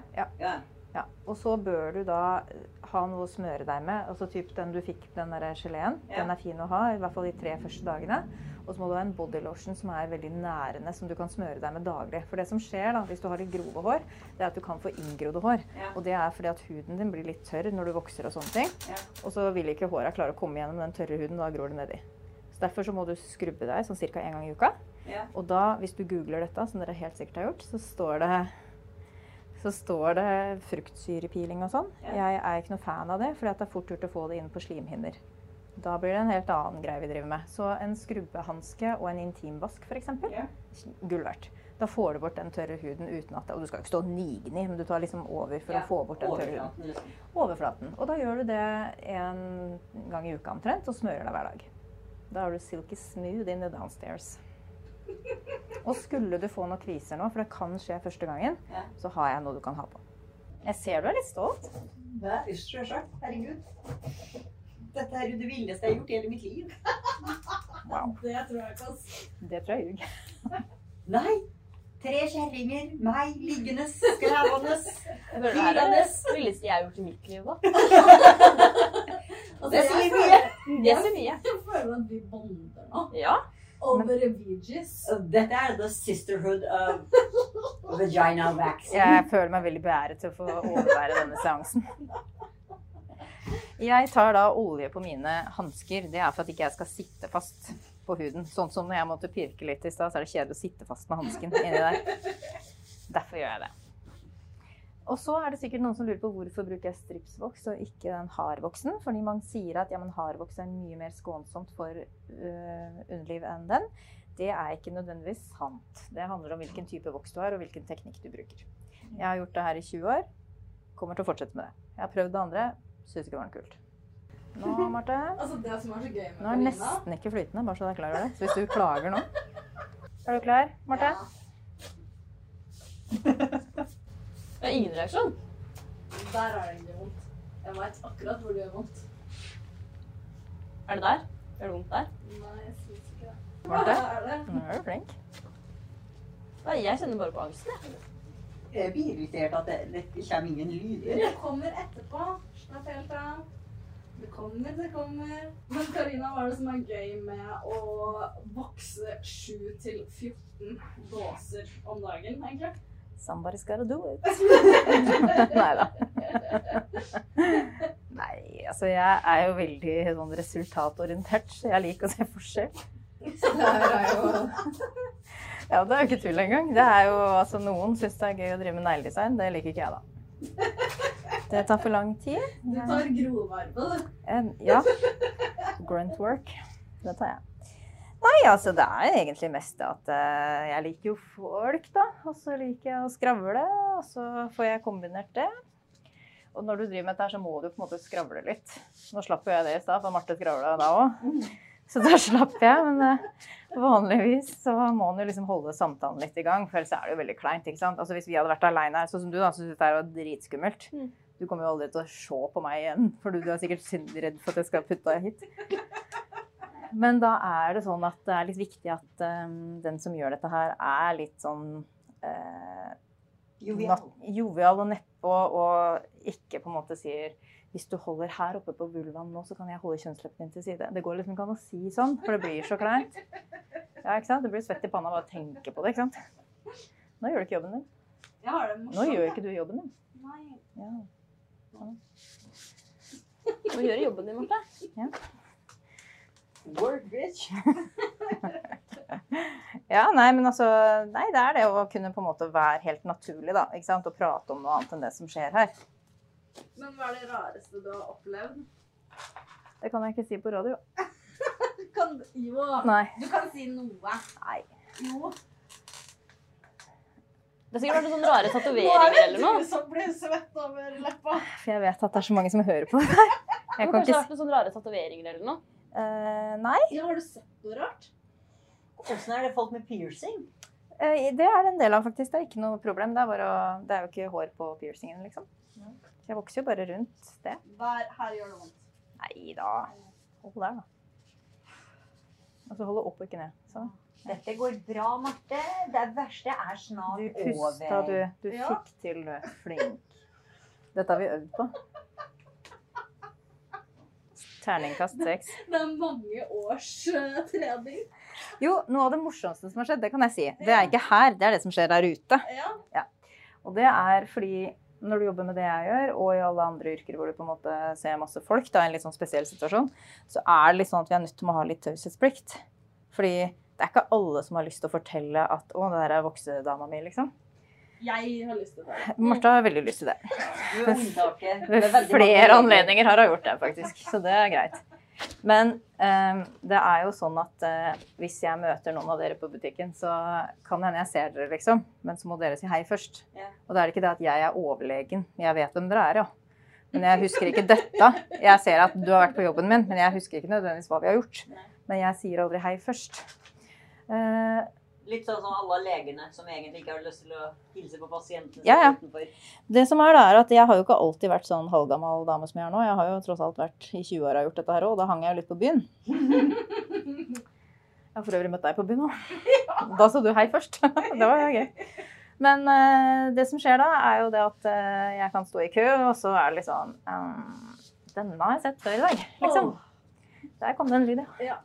Speaker 4: Ja, og så bør du da eh, ha noe å smøre deg med. Altså typ den du fikk, den der geleen.
Speaker 3: Ja.
Speaker 4: Den er fin å ha, i hvert fall de tre første dagene. Og så må du ha en body lotion som er veldig nærende, som du kan smøre deg med daglig. For det som skjer da, hvis du har litt grove hår, det er at du kan få inngrodde hår.
Speaker 3: Ja.
Speaker 4: Og det er fordi at huden din blir litt tørr når du vokser og sånne ting.
Speaker 3: Ja.
Speaker 4: Og så vil ikke håra klare å komme gjennom den tørre huden, da gror det nedi. Så derfor så må du skrubbe deg sånn ca. én gang i uka.
Speaker 3: Ja.
Speaker 4: Og da, hvis du googler dette, som dere helt sikkert har gjort, så står det, så står det fruktsyrepiling og sånn.
Speaker 3: Ja.
Speaker 4: Jeg er ikke noe fan av det, for det er fort gjort å få det inn på slimhinner. Da blir det en helt annen greie vi driver med. Så en skrubbehanske og en intimvask f.eks.
Speaker 3: Ja.
Speaker 4: Gull verdt. Da får du bort den tørre huden uten at det, Og du skal jo ikke stå og nigne i, men du tar liksom over for å få bort den tørre huden.
Speaker 3: Overflaten, liksom.
Speaker 4: Overflaten. Og da gjør du det en gang i uka omtrent, og smører deg hver dag. Da har du silky smooth in the downstairs. Og skulle du få noen kviser nå, for det kan skje første gangen,
Speaker 3: Ja.
Speaker 4: så har jeg noe du kan ha på. Jeg ser du er litt stolt.
Speaker 3: Det er sjølsagt. Herregud. Dette er jo det villeste jeg har gjort i hele mitt liv.
Speaker 2: Det tror jeg ikke, ass.
Speaker 4: Det tror jeg ljuger.
Speaker 3: Nei. Tre kjerringer, meg liggende, skrævende,
Speaker 5: Det er det villeste jeg har gjort i mitt liv, da.
Speaker 2: Altså,
Speaker 3: Det
Speaker 2: jeg
Speaker 3: sier
Speaker 2: føler-
Speaker 3: mye.
Speaker 4: Mm,
Speaker 5: Det sier mye.
Speaker 2: Jeg føler at vi bonder nå.
Speaker 5: Ja.
Speaker 2: Over Veggies.
Speaker 3: Dette er the sisterhood of vagina waxing.
Speaker 4: Jeg føler meg veldig beæret til å få overvære denne seansen. Jeg tar da olje på mine hansker. Det er for at ikke jeg skal sitte fast på huden. Sånn som når jeg måtte pirke litt i stad, så er det kjedelig å sitte fast med hansken inni der. Derfor gjør jeg det. Og så er det sikkert noen som lurer på hvorfor bruker jeg stripsvoks og ikke den hardvoksen. Fordi man sier at ja, men hardvoks er mye mer skånsomt for øh, underliv enn den. Det er ikke nødvendigvis sant. Det handler om hvilken type voks du har og hvilken teknikk du bruker. Jeg har gjort det her i 20 år. Kommer til å fortsette med det. Jeg har prøvd det andre. Syns ikke det var noe kult. Nå, Marte.
Speaker 2: Altså, det som er så gøy med
Speaker 4: Nå er den
Speaker 2: Karina
Speaker 4: nesten ikke flytende, bare så du er klar over det. Så hvis du klager nå Er du klar, Marte?
Speaker 5: Det er ingen reaksjon.
Speaker 2: Der er det egentlig vondt. Jeg veit akkurat hvor det gjør vondt.
Speaker 5: Er det der? Gjør det vondt der?
Speaker 2: Nei, jeg syns ikke det.
Speaker 4: Var det?
Speaker 2: er det?
Speaker 4: Nå er du flink.
Speaker 5: Nei, jeg kjenner bare på angsten. jeg.
Speaker 3: Jeg blir irritert at det, det kommer ingen lyder.
Speaker 2: Det kommer etterpå. Slapp helt av. Det kommer, det kommer. Men Karina, hva er det som er gøy med å vokse 7 til 14 båser om dagen, egentlig?
Speaker 4: Somebody's gotta do it. Nei da. Nei, altså jeg er jo veldig sånn resultatorientert, så jeg liker å se forskjell.
Speaker 2: Det her er jo
Speaker 4: Ja, det er jo ikke tull engang. Det er jo, altså, noen syns det er gøy å drive med negledesign. Det liker ikke jeg, da. Det tar for lang tid.
Speaker 2: Du tar grovarme, du.
Speaker 4: En, ja. Grunt work. Det tar jeg. Nei, altså det er egentlig mest det at eh, jeg liker jo folk, da. Og så liker jeg å skravle, og så får jeg kombinert det. Og når du driver med dette, her, så må du på en måte skravle litt. Nå slapp jo jeg det i stad, for Marte skravla da òg. Så da slapp jeg. Men eh, vanligvis så må man jo liksom holde samtalen litt i gang, for ellers er det jo veldig kleint. ikke sant? Altså Hvis vi hadde vært aleine her, sånn som du, da, syns dette er jo dritskummelt.
Speaker 5: Mm.
Speaker 4: Du kommer jo aldri til å se på meg igjen, for du du er sikkert synd redd for at jeg skal putte deg hit. Men da er det sånn at det er litt viktig at eh, den som gjør dette her, er litt sånn eh,
Speaker 3: Jovial.
Speaker 4: nat- jovial og nedpå, og ikke på en måte sier hvis du holder her oppe på vulvaen nå, så kan jeg holde kjønnsleppen din til side. Det går liksom ikke an å si sånn, for det blir så kleint. Ja, ikke sant? Det blir svett i panna bare av å tenke på det, ikke sant. Nå gjør du ikke jobben din.
Speaker 2: Jeg har det
Speaker 4: Nå
Speaker 2: morsomt.
Speaker 4: gjør ikke du jobben din.
Speaker 2: Nei.
Speaker 4: Ja.
Speaker 5: Må gjøre jobben din, Marte.
Speaker 3: Work, bitch.
Speaker 4: Ja, nei, men altså Nei, det er det å kunne på en måte være helt naturlig, da. Ikke sant? Og prate om noe annet enn det som skjer her.
Speaker 2: Men hva er det rareste du har opplevd?
Speaker 4: Det kan jeg ikke si på radio.
Speaker 2: Du kan, jo,
Speaker 4: Nei.
Speaker 2: du kan si noe.
Speaker 4: Nei.
Speaker 2: Jo.
Speaker 5: Det har sikkert vært noen sånne rare tatoveringer eller noe.
Speaker 2: du som blir svett over leppa.
Speaker 4: For jeg vet at det er så mange som hører på det her.
Speaker 5: Det
Speaker 4: Jeg
Speaker 5: har
Speaker 4: kan
Speaker 5: kanskje
Speaker 4: ikke
Speaker 5: vært noen sånne rare tatoveringer eller noe.
Speaker 4: s- eh, Nei.
Speaker 2: Ja, har du sett noe rart?
Speaker 3: Åssen er det folk med piercing?
Speaker 4: eh, Det er det en del av, faktisk. Det er ikke noe problem. Det er, bare å, det er jo ikke hår på piercingen, liksom. Så jeg vokser jo bare rundt det.
Speaker 2: Der, her gjør det vondt.
Speaker 4: Nei da. Hold der, da. Og så holde opp og ikke ned. Sånn.
Speaker 3: Dette går bra, Marte. Det verste er snart
Speaker 4: Du
Speaker 3: over.
Speaker 4: pusta, du. Du
Speaker 2: Ja.
Speaker 4: fikk til, du. Flink. Dette har vi øvd på. Terningkast seks.
Speaker 2: Det er mange års eh, trening.
Speaker 4: Jo, noe av det morsomste som har skjedd, det kan jeg si. Det er ikke her, det er det som skjer der ute.
Speaker 2: Ja.
Speaker 4: Og det er fordi når du jobber med det jeg gjør, og i alle andre yrker hvor du på en måte ser masse folk, da, i en litt sånn spesiell situasjon, så er det litt sånn at vi er nødt til å ha litt taushetsplikt. Fordi det er ikke alle som har lyst til å fortelle at 'Å, det der er voksedama mi', liksom.
Speaker 2: Jeg har lyst til det.
Speaker 4: Martha har veldig lyst til det.
Speaker 3: Du er unntaket. Det
Speaker 4: Ved
Speaker 3: er veldig mange
Speaker 4: flere
Speaker 3: regler.
Speaker 4: anledninger har hun gjort det, faktisk. Så det er greit. Men eh, det er jo sånn at eh, hvis jeg møter noen av dere på butikken, så kan det hende jeg ser dere, liksom. Men så må dere si hei først.
Speaker 3: Ja.
Speaker 4: Og da er det ikke det at jeg er overlegen. Jeg vet hvem dere er, ja. Men jeg husker ikke dette. Jeg ser at du har vært på jobben min, men jeg husker ikke nødvendigvis hva vi har gjort. Men jeg sier aldri hei først. Eh,
Speaker 3: Litt sånn som alle legene som egentlig ikke har lyst til å hilse på pasientene som
Speaker 4: Ja, ja.
Speaker 3: er utenfor.
Speaker 4: Det som er, da, er at jeg har jo ikke alltid vært sånn halvgammal dame som jeg er nå. Jeg har jo tross alt vært i 20-åra og gjort dette her òg, og da hang jeg jo litt på byen. Jeg har for øvrig møtt deg på byen òg. Da sa du hei først. Det var jo gøy. Men eh, det som skjer da, er jo det at eh, jeg kan stå i kø, og så er det litt sånn ehm, Denne har jeg sett før i dag, liksom. Der kom det en lyd,
Speaker 2: Ja.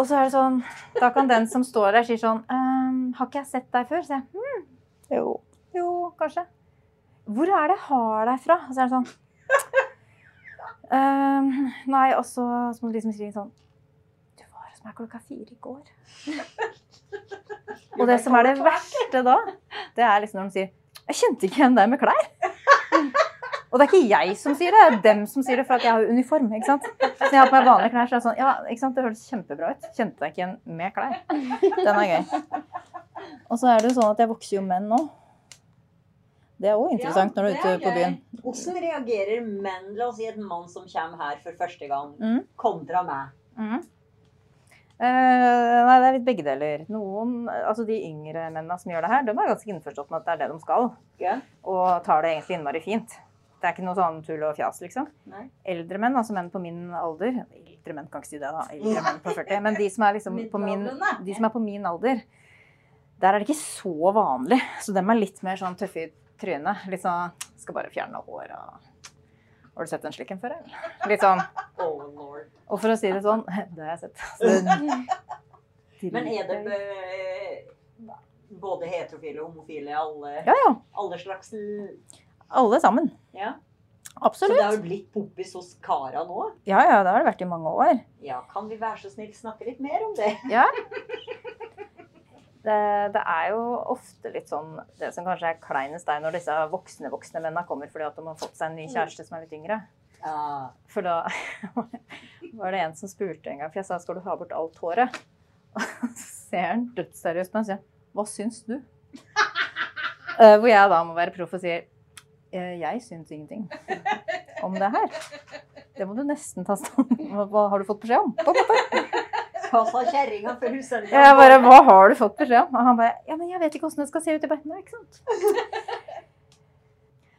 Speaker 4: Og så er det sånn Da kan den som står der, si sånn ehm, Har ikke jeg sett deg før? Så jeg hm, jo. Jo, kanskje. Hvor er det jeg har deg fra? Og så er det sånn «Ehm, Nei, og så, så må du liksom si sånn Du var hos meg klokka fire i går. Og det som er det verste da, det er liksom når de sier Jeg kjente ikke igjen deg med klær. Og det er ikke jeg som sier det, det er dem som sier det, for at jeg har jo uniform. ikke sant? Så når jeg har på meg vanlige klær, så er det sånn Ja, ikke sant, det høres kjempebra ut. Kjente deg ikke igjen med klær. Den er gøy. Og så er det jo sånn at jeg vokser jo menn nå. Det er òg interessant
Speaker 2: Ja,
Speaker 4: når du er
Speaker 2: det er
Speaker 4: ute på
Speaker 2: gøy.
Speaker 4: byen.
Speaker 3: Hvordan reagerer menn, la oss si et mann som kommer her for første gang,
Speaker 4: Mm.
Speaker 3: kontra meg?
Speaker 4: Mhm. Eh, nei, det er litt begge deler. Noen, altså De yngre mennene som gjør det her, de er ganske innforstått med at det er det de skal.
Speaker 3: Ja.
Speaker 4: Og tar det egentlig innmari fint. Det er ikke noe sånn tull og fjas, liksom.
Speaker 3: Nei.
Speaker 4: Eldre menn, altså menn på min alder Eldre menn kan ikke si det, da. Eldre menn på 40. Men de som er, liksom på, min,
Speaker 2: Middelaldrende.
Speaker 4: de som er på min alder, der er det ikke så vanlig. Så dem er litt mer sånn tøffe i trynet. Litt sånn Skal bare fjerne håret og Har du sett en slik en før, eller? Litt sånn
Speaker 3: Oh, lord.
Speaker 4: og for å si det sånn, det har jeg sett. Så,
Speaker 3: Men er det eh, både heterofile og homofile, alle,
Speaker 4: Ja, ja.
Speaker 3: alle slags Ja.
Speaker 4: Alle sammen.
Speaker 3: Så det har
Speaker 4: Absolutt.
Speaker 3: jo blitt poppis hos kara nå?
Speaker 4: Ja, ja, det har det vært i mange år.
Speaker 3: Ja, kan vi være så snill snakke litt mer om det?
Speaker 4: Ja. Det, det er jo ofte litt sånn Det som kanskje er kleinest, er når disse voksne voksne mennene kommer fordi at de har fått seg en
Speaker 3: Mm.
Speaker 4: ny kjæreste som er litt yngre. For da var det en som spurte en gang, for jeg sa skal du ha bort alt håret? Og så ser han dødsseriøst på meg og sier hva syns du? Eh, hvor jeg da må være proff og sier «Eh, jeg syns ingenting om det her. Det må du nesten ta stand Hva, hva har du fått beskjed om? På en måte.
Speaker 3: Hva sa kjerringa før hun sendte
Speaker 4: Jeg bare, hva har du fått beskjed om? Og han bare, ja, men jeg vet ikke hvordan det skal se ut i beina, ikke sant?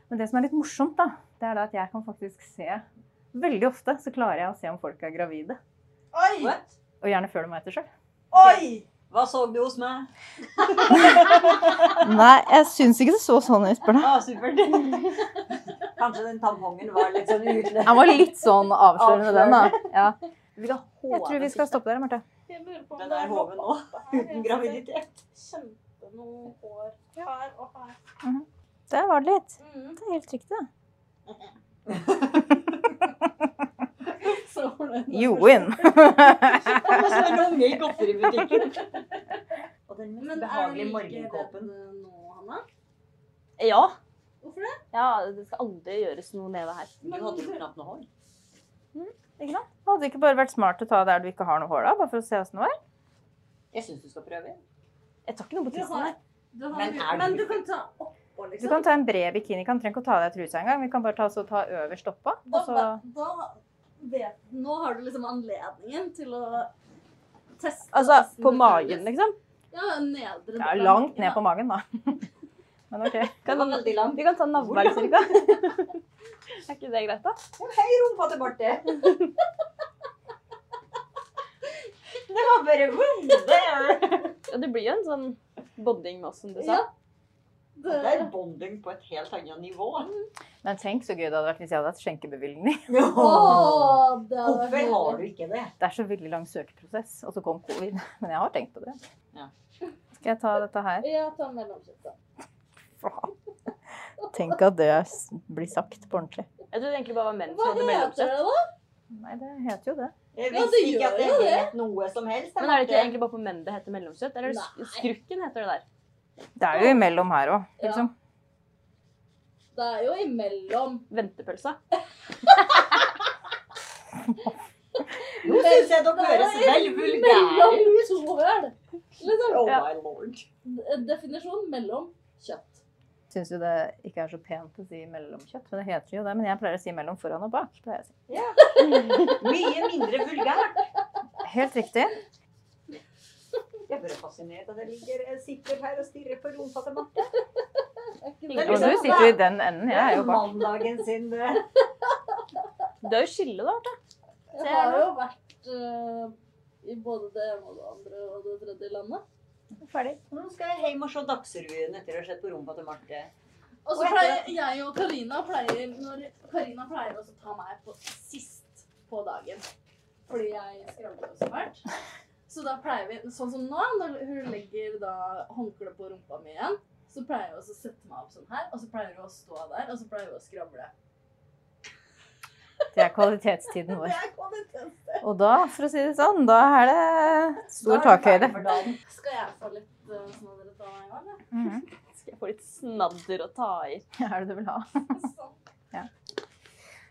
Speaker 4: Men det som er litt morsomt da, det er da at jeg kan faktisk se, veldig ofte så klarer jeg å se om folk er gravide.
Speaker 3: Oi!
Speaker 4: Og gjerne før de vet det selv.
Speaker 3: Oi! Hva så du hos meg?
Speaker 4: Nei, jeg synes ikke det så sånn ut, Bjørn.
Speaker 3: Ah, supert. Kanskje den tampongen var litt sånn utløst.
Speaker 4: Han var litt sånn avslørende den da. Ja. Jeg tror vi skal stoppe der, Marte.
Speaker 5: Jeg lurer på om
Speaker 3: Den
Speaker 5: det
Speaker 3: er
Speaker 5: er
Speaker 3: hoven nå, uten graviditet.
Speaker 5: kjempe noe hår her og her.
Speaker 4: Der var det litt.
Speaker 5: Mm.
Speaker 4: Det er helt riktig da.
Speaker 5: Så fornøyd.
Speaker 4: Join.
Speaker 3: Det var som en unge i godteributikken. Og den mest
Speaker 2: Men er du
Speaker 3: behagelige
Speaker 2: like redd
Speaker 3: morgenkåpen.
Speaker 2: nå, Hanna?
Speaker 5: Ja.
Speaker 2: Hvorfor det?
Speaker 5: Ja, det skal aldri gjøres noe nede her.
Speaker 3: Du hadde jo knapt noe hår.
Speaker 4: Ikke sant? Hadde det ikke bare vært smart å ta der du ikke har noe hår da, bare for å se hvordan det var?
Speaker 3: Jeg syns du skal prøve.
Speaker 5: Jeg tar ikke noe på
Speaker 2: Du
Speaker 5: tissen
Speaker 2: har,
Speaker 5: her.
Speaker 2: du har,
Speaker 3: Men
Speaker 2: men,
Speaker 3: er du-
Speaker 2: du kan ta oppå,
Speaker 4: Du
Speaker 2: liksom.
Speaker 4: kan ta en bred bikini, kan trenger ikke å ta av deg trusa engang. Vi kan bare ta, så, ta øverst oppå.
Speaker 2: da,
Speaker 4: Og så,
Speaker 2: da, da vet, nå har du liksom anledningen til å teste
Speaker 5: Altså,
Speaker 2: testen
Speaker 5: på
Speaker 2: ut.
Speaker 5: magen, liksom.
Speaker 2: Ja, nedre
Speaker 4: ja,
Speaker 2: del av
Speaker 4: langt
Speaker 2: nakken,
Speaker 4: ned på
Speaker 2: da.
Speaker 4: magen, da. Men OK.
Speaker 3: Den var veldig lang.
Speaker 5: Vi kan ta navlen, cirka. Er ikke det greit, da?
Speaker 3: Hei, rumpa til Marte. Det var bare boom, there.
Speaker 5: Ja, det blir jo en sånn bonding med oss, som du sa.
Speaker 2: Ja.
Speaker 3: Det er bonding på et helt annet nivå.
Speaker 4: Men tenk så gøy det hadde vært hvis jeg hadde hatt skjenkebevilgning.
Speaker 3: Hvorfor
Speaker 2: Åh, det hadde vært
Speaker 3: har du
Speaker 2: nydelig.
Speaker 3: ikke det?
Speaker 4: Det er så veldig lang søkeprosess, og så kom covid. Men jeg har tenkt på det.
Speaker 3: Ja.
Speaker 4: Skal jeg ta dette her?
Speaker 2: Ja, ta mellomskjøttet.
Speaker 4: Faen. Tenk at det s- blir sagt på ordentlig.
Speaker 5: Jeg trodde egentlig bare var menn
Speaker 2: Hva
Speaker 3: sånn
Speaker 5: som hadde
Speaker 2: heter
Speaker 5: mellomsett.
Speaker 2: det, da?
Speaker 4: Nei, det heter jo det.
Speaker 3: Jeg
Speaker 2: Ja,
Speaker 3: visste
Speaker 2: det
Speaker 3: ikke at
Speaker 2: gjør
Speaker 3: det
Speaker 2: jo det.
Speaker 3: het noe som helst.
Speaker 5: Men er det ikke
Speaker 3: Marte.
Speaker 5: egentlig bare på menn det heter mellomkjøtt? Eller er det sk- skrukken heter det der?
Speaker 4: Det er jo imellom her òg, liksom.
Speaker 2: Det er jo imellom.
Speaker 5: Ventepølsa.
Speaker 3: Nå syns jeg dere høres vel vulgære
Speaker 2: Mellom
Speaker 3: ut.
Speaker 2: to høl. Liksom.
Speaker 3: Oh my lord.
Speaker 2: Definisjon mellom kjøtt.
Speaker 4: Syns jo det ikke er så pent å si mellomkjøtt, men det heter jo det. Men jeg pleier å si mellom foran og bak. pleier jeg å si.
Speaker 3: Mye mindre vulgært.
Speaker 4: Helt riktig.
Speaker 3: Jeg er bare fascinert at jeg ligger, jeg sitter her og stirrer på rumpa til Marte.
Speaker 4: Og du
Speaker 5: liksom-
Speaker 4: sitter jo i den enden. Jeg liksom er jo bak.
Speaker 3: Mandagen sin eh,
Speaker 5: Det er jo skille, da. Arte.
Speaker 2: Jeg har jo vært eh, i både det ene og det andre og det tredje landet.
Speaker 3: Nå skal jeg hjem og se Dagsrevyen etter å ha sett på rumpa til Marte.
Speaker 2: Og
Speaker 3: Og
Speaker 2: så
Speaker 3: etter
Speaker 2: pleier jeg og Karina pleier, når Karina pleier også å ta meg på sist på dagen. Fordi jeg skravler jo så fælt. Så da pleier vi, sånn som nå, når hun legger da håndkle på rumpa mi igjen, så pleier jeg også å sette meg opp sånn her, og så pleier hun å stå der, og så pleier hun å skravle.
Speaker 4: Det er kvalitetstiden vår.
Speaker 2: Det er kvalitet.
Speaker 4: Og da, for å si det sånn, da er det
Speaker 3: Da
Speaker 4: stor
Speaker 3: er du
Speaker 4: takhøyde.
Speaker 3: ferdig for dagen.
Speaker 2: Skal jeg få litt eh, smadret av meg i gang? eller?
Speaker 5: Skal jeg få litt snadder å ta i?
Speaker 4: Er det du vil ha?
Speaker 2: Sånn.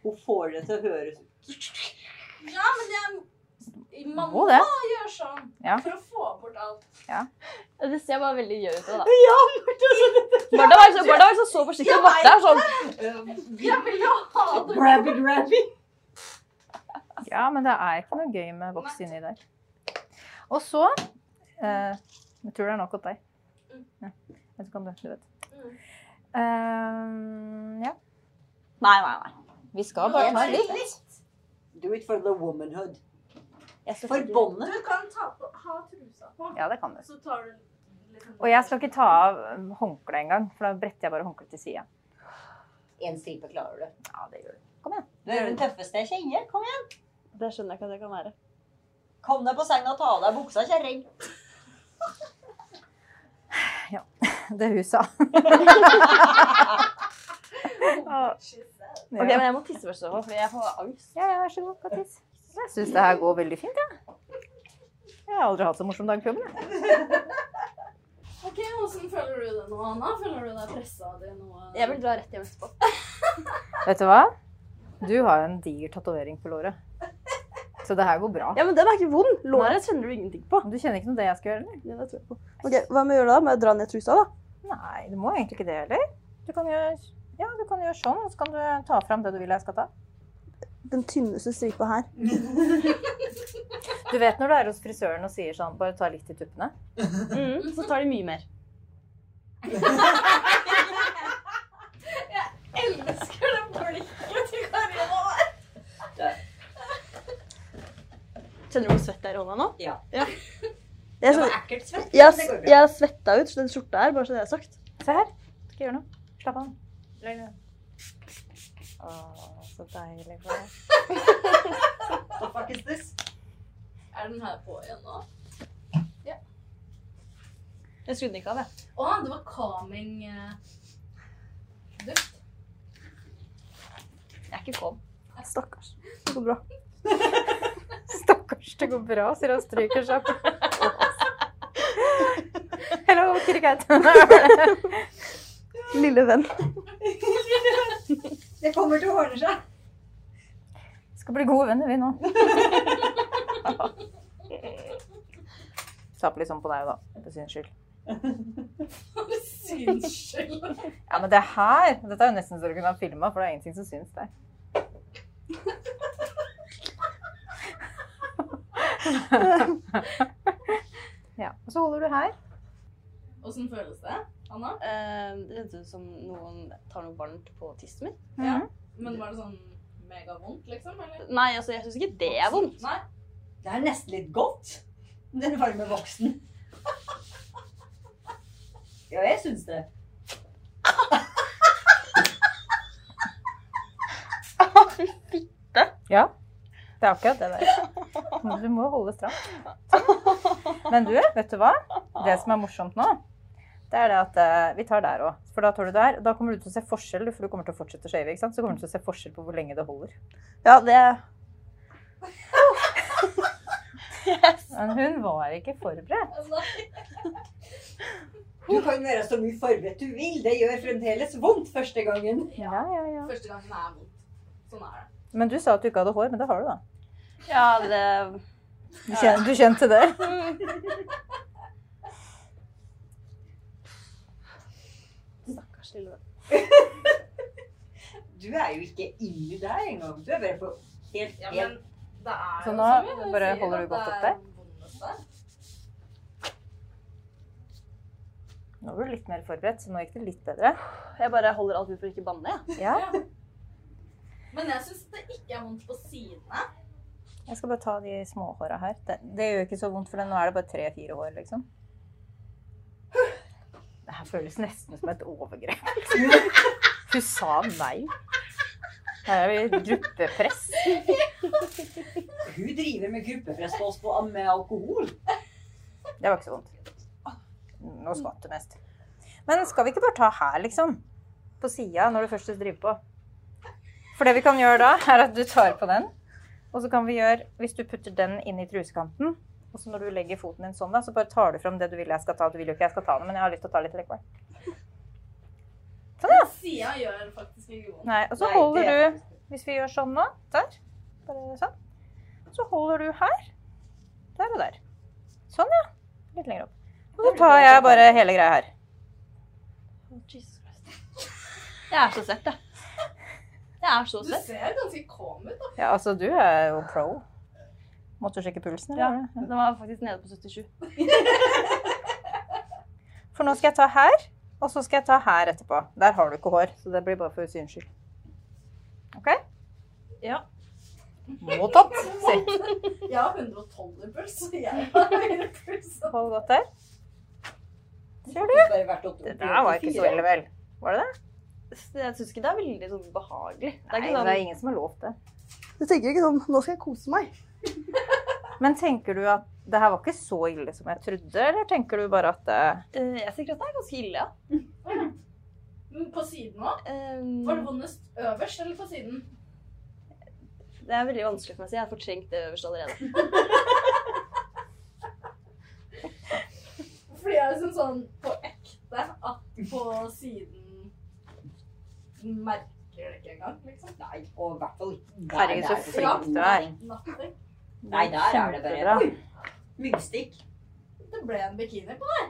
Speaker 3: Hun får det til å høres ut.
Speaker 2: Ja, men jeg Man
Speaker 4: Må
Speaker 2: må
Speaker 4: det.
Speaker 2: gjøre sånn
Speaker 4: Ja.
Speaker 2: for å få bort alt.
Speaker 5: Det ser bare veldig gøy ut. da. Ja, Martha var så, Martha var liksom så, så forsiktig.
Speaker 2: Jeg
Speaker 5: Martha er sånn
Speaker 2: Jeg vil jo ha det!
Speaker 3: Grabby, grabby.
Speaker 4: Ja, men det er ikke noe gøy med voks inni der. Og så eh, Jeg tror det er nok åt deg. Ja. Vet du hva du, du vet. Eh, ja.
Speaker 5: Nei, nei, nei.
Speaker 4: Vi skal bare ta litt.
Speaker 3: Do it for the womanhood.
Speaker 5: Jeg skal
Speaker 3: For
Speaker 5: ikke-
Speaker 3: båndet.
Speaker 2: Du kan ta på, ha trusa på,
Speaker 4: Ja, det kan du.
Speaker 2: så tar du liksom
Speaker 4: Og jeg skal ikke ta av eh, håndkleet engang, for da bretter jeg bare håndkleet til sida.
Speaker 3: Én stripe klarer du.
Speaker 4: Ja, det gjør du.
Speaker 3: Du er den tøffeste jeg kjenner. Kom igjen.
Speaker 5: Det skjønner jeg ikke at det kan være.
Speaker 3: Kom deg på senga og ta av deg buksa, kjerring.
Speaker 4: Det huset.
Speaker 5: Ok, Men jeg må tisse først, også, fordi jeg får angst.
Speaker 4: Ja, ja, vær så god, Kattis. Jeg syns det her går veldig fint, jeg. Ja. Jeg har aldri hatt så morsom dag på jobben, jeg.
Speaker 2: Ok, Hvordan føler du det nå, Anna? Føler du deg pressa av det nå?
Speaker 5: Jeg vil dra rett hjem etterpå.
Speaker 4: Vet du hva? Du har en diger tatovering på låret. Så det her går bra.
Speaker 5: Ja, men den er ikke vond. Låret kjenner du ingenting på.
Speaker 4: Du kjenner ikke noe det jeg skal gjøre, eller?
Speaker 5: Ja, det tror jeg på. Ok, Hva må jeg gjøre da? Må jeg dra ned trusa, da?
Speaker 4: Nei, du må egentlig ikke det heller. Du kan gjøre, ja, du kan gjøre sånn, og så kan du ta fram det du vil jeg skal ta.
Speaker 5: Den tynneste stripa her.
Speaker 4: Du vet når du er hos frisøren og sier sånn, bare ta litt i tuppene.
Speaker 5: Mm, så tar de mye mer.
Speaker 2: Elsker det blikket til Karina.
Speaker 5: Kjenner du hvor svett det er i hånda nå?
Speaker 3: Ja.
Speaker 5: Jeg, sånn-
Speaker 3: Det var
Speaker 5: svet-
Speaker 3: ekkelt svett.
Speaker 5: jeg,
Speaker 3: men det går
Speaker 5: s-
Speaker 3: bra.
Speaker 5: jeg svetta ut den skjorta her, bare så det er sagt.
Speaker 4: Se her. Du skal gjøre noe. Slapp av. Legg deg. Å, så deilig for deg.
Speaker 3: The fuck is this?
Speaker 2: Er den her på igjen nå?
Speaker 5: Jeg skrudde den ikke av, jeg.
Speaker 2: Å, det var calming eh, duft.
Speaker 5: Jeg er ikke kom. Stakkars. Det går bra.
Speaker 4: Stakkars, det går bra, sier han stryker seg på. Hello, kitty cat.
Speaker 5: Lille venn.
Speaker 3: Det kommer til å ordne seg.
Speaker 4: Skal bli gode venner vi nå. Slapp litt sånn på deg da, for sin skyld.
Speaker 2: Syns skyld.
Speaker 4: Ja, men det her, dette er jo nesten så du kunne ha filmet, for det er ingenting som syns der. ja, og så holder du her.
Speaker 2: Åssen føles det, Anna?
Speaker 5: Eh, det kjentes ut som noen tar noe varmt på tissen min.
Speaker 2: Ja.
Speaker 5: Mhm.
Speaker 2: Men var det sånn megavondt, liksom? Eller?
Speaker 5: Nei, altså, jeg syns ikke det er vondt.
Speaker 2: Nei?
Speaker 3: Det er nesten litt godt. Den varme voksen. Ja, jeg syns det.
Speaker 4: Ja, det er akkurat det der. Men Du må holde stramt. Men du, vet du hva? Det som er morsomt nå, det er det at eh, vi tar der òg. For da tar du der. og Da kommer du til å se forskjell, for du kommer til å fortsette å shave. ikke sant? Så kommer du til å se forskjell på hvor lenge det holder.
Speaker 5: Ja, det
Speaker 4: Men hun var ikke forberedt.
Speaker 2: altså.
Speaker 3: Du kan være så mye forberedt du vil. Det gjør fremdeles vondt første gangen.
Speaker 4: Ja, ja, ja.
Speaker 2: Første gangen er vondt. Sånn er det.
Speaker 4: Men du sa at du ikke hadde hår, men det har du, da.
Speaker 5: Ja, det
Speaker 4: Du kjente, du kjente det?
Speaker 5: Stakkars lille venn.
Speaker 3: Du er jo ikke inni der engang. Du er bare på helt,
Speaker 2: Ja,
Speaker 3: helt
Speaker 2: men det er
Speaker 4: Så
Speaker 2: jo
Speaker 4: nå
Speaker 2: som vi
Speaker 4: bare
Speaker 2: sier,
Speaker 4: holder
Speaker 2: at
Speaker 4: du godt
Speaker 2: det
Speaker 4: opp
Speaker 2: er
Speaker 4: der?
Speaker 2: vondest der.
Speaker 4: Nå var du litt mer forberedt, så nå gikk det litt bedre.
Speaker 5: Jeg bare holder alt ut for ikke å banne, jeg.
Speaker 4: Ja,
Speaker 2: Men jeg syns det ikke er vondt på sidene.
Speaker 4: Jeg skal bare ta de småhåra her. Det, det gjør ikke så vondt, for nå er det bare tre-fire hår, liksom. Det her føles nesten som et overgrep. Hun sa nei. Her er vi gruppepress.
Speaker 3: Hun driver med gruppepress på oss på, med alkohol.
Speaker 4: Det var ikke så vondt. Nå skvatt det mest. Men skal vi ikke bare ta her, liksom? På sida, når du først driver på. For det vi kan gjøre da, er at du tar på den. Og så kan vi gjøre, hvis du putter den inn i trusekanten, og så når du legger foten din sånn, da, så bare tar du fram det du vil jeg skal ta. Du vil jo ikke jeg skal ta det, men jeg har lyst til å ta litt likevel. Sånn, ja.
Speaker 2: Sida gjør faktisk ikke vondt.
Speaker 4: Nei, og så
Speaker 3: Nei,
Speaker 4: holder
Speaker 3: det-
Speaker 4: du Hvis vi gjør sånn nå, der, bare sånn, så holder du her, der og der. Sånn, ja. Litt lenger opp. Og så tar jeg bare hele greia her.
Speaker 5: Jesus Christ. Jeg er så svett, jeg. Jeg er så
Speaker 2: Du
Speaker 5: svett.
Speaker 2: ser ganske calm ut. da.
Speaker 4: Ja, altså, du er jo pro. Måtte du sjekke pulsen,
Speaker 5: Ja,
Speaker 4: eller?
Speaker 5: Den var faktisk nede på 77.
Speaker 4: For nå skal jeg ta her, og så skal jeg ta her etterpå. Der har du ikke hår, så det blir bare for syns skyld. OK?
Speaker 5: Ja.
Speaker 4: Mottatt. Se.
Speaker 2: Jeg har 112 i puls, så jeg har høyere puls.
Speaker 4: Hold godt der. Ser du?
Speaker 3: Bare vært opp-
Speaker 4: Det der var ikke så ille, vel? Var det det?
Speaker 5: Så Jeg syns ikke det er veldig sånn behagelig. Det er
Speaker 4: Nei,
Speaker 5: ikke
Speaker 4: det er
Speaker 5: sånn,
Speaker 4: ingen som har lovt det.
Speaker 5: du tenker ikke sånn 'nå skal jeg kose meg'.
Speaker 4: Men tenker du at det her var ikke så ille som jeg trodde, eller tenker du bare at eh,
Speaker 5: jeg tenker at det er ganske ille, ja.
Speaker 2: Men På siden òg?
Speaker 5: Ehm,
Speaker 2: Var det vondest øverst eller på siden?
Speaker 5: Eh, det er veldig vanskelig for meg å si. Jeg har fortrengt det øverste allerede.
Speaker 2: Fordi jeg er liksom sånn På på siden Merker det ikke engang, liksom.
Speaker 3: Nei, og i hvert fall ikke der
Speaker 4: Herregud, så
Speaker 3: det er
Speaker 4: flink
Speaker 3: ingen
Speaker 4: du er.
Speaker 3: ting.
Speaker 2: Nothing.
Speaker 3: Nei, der er det bare
Speaker 4: Kjempebra.
Speaker 3: myggstikk.
Speaker 2: Det ble en bikini på deg.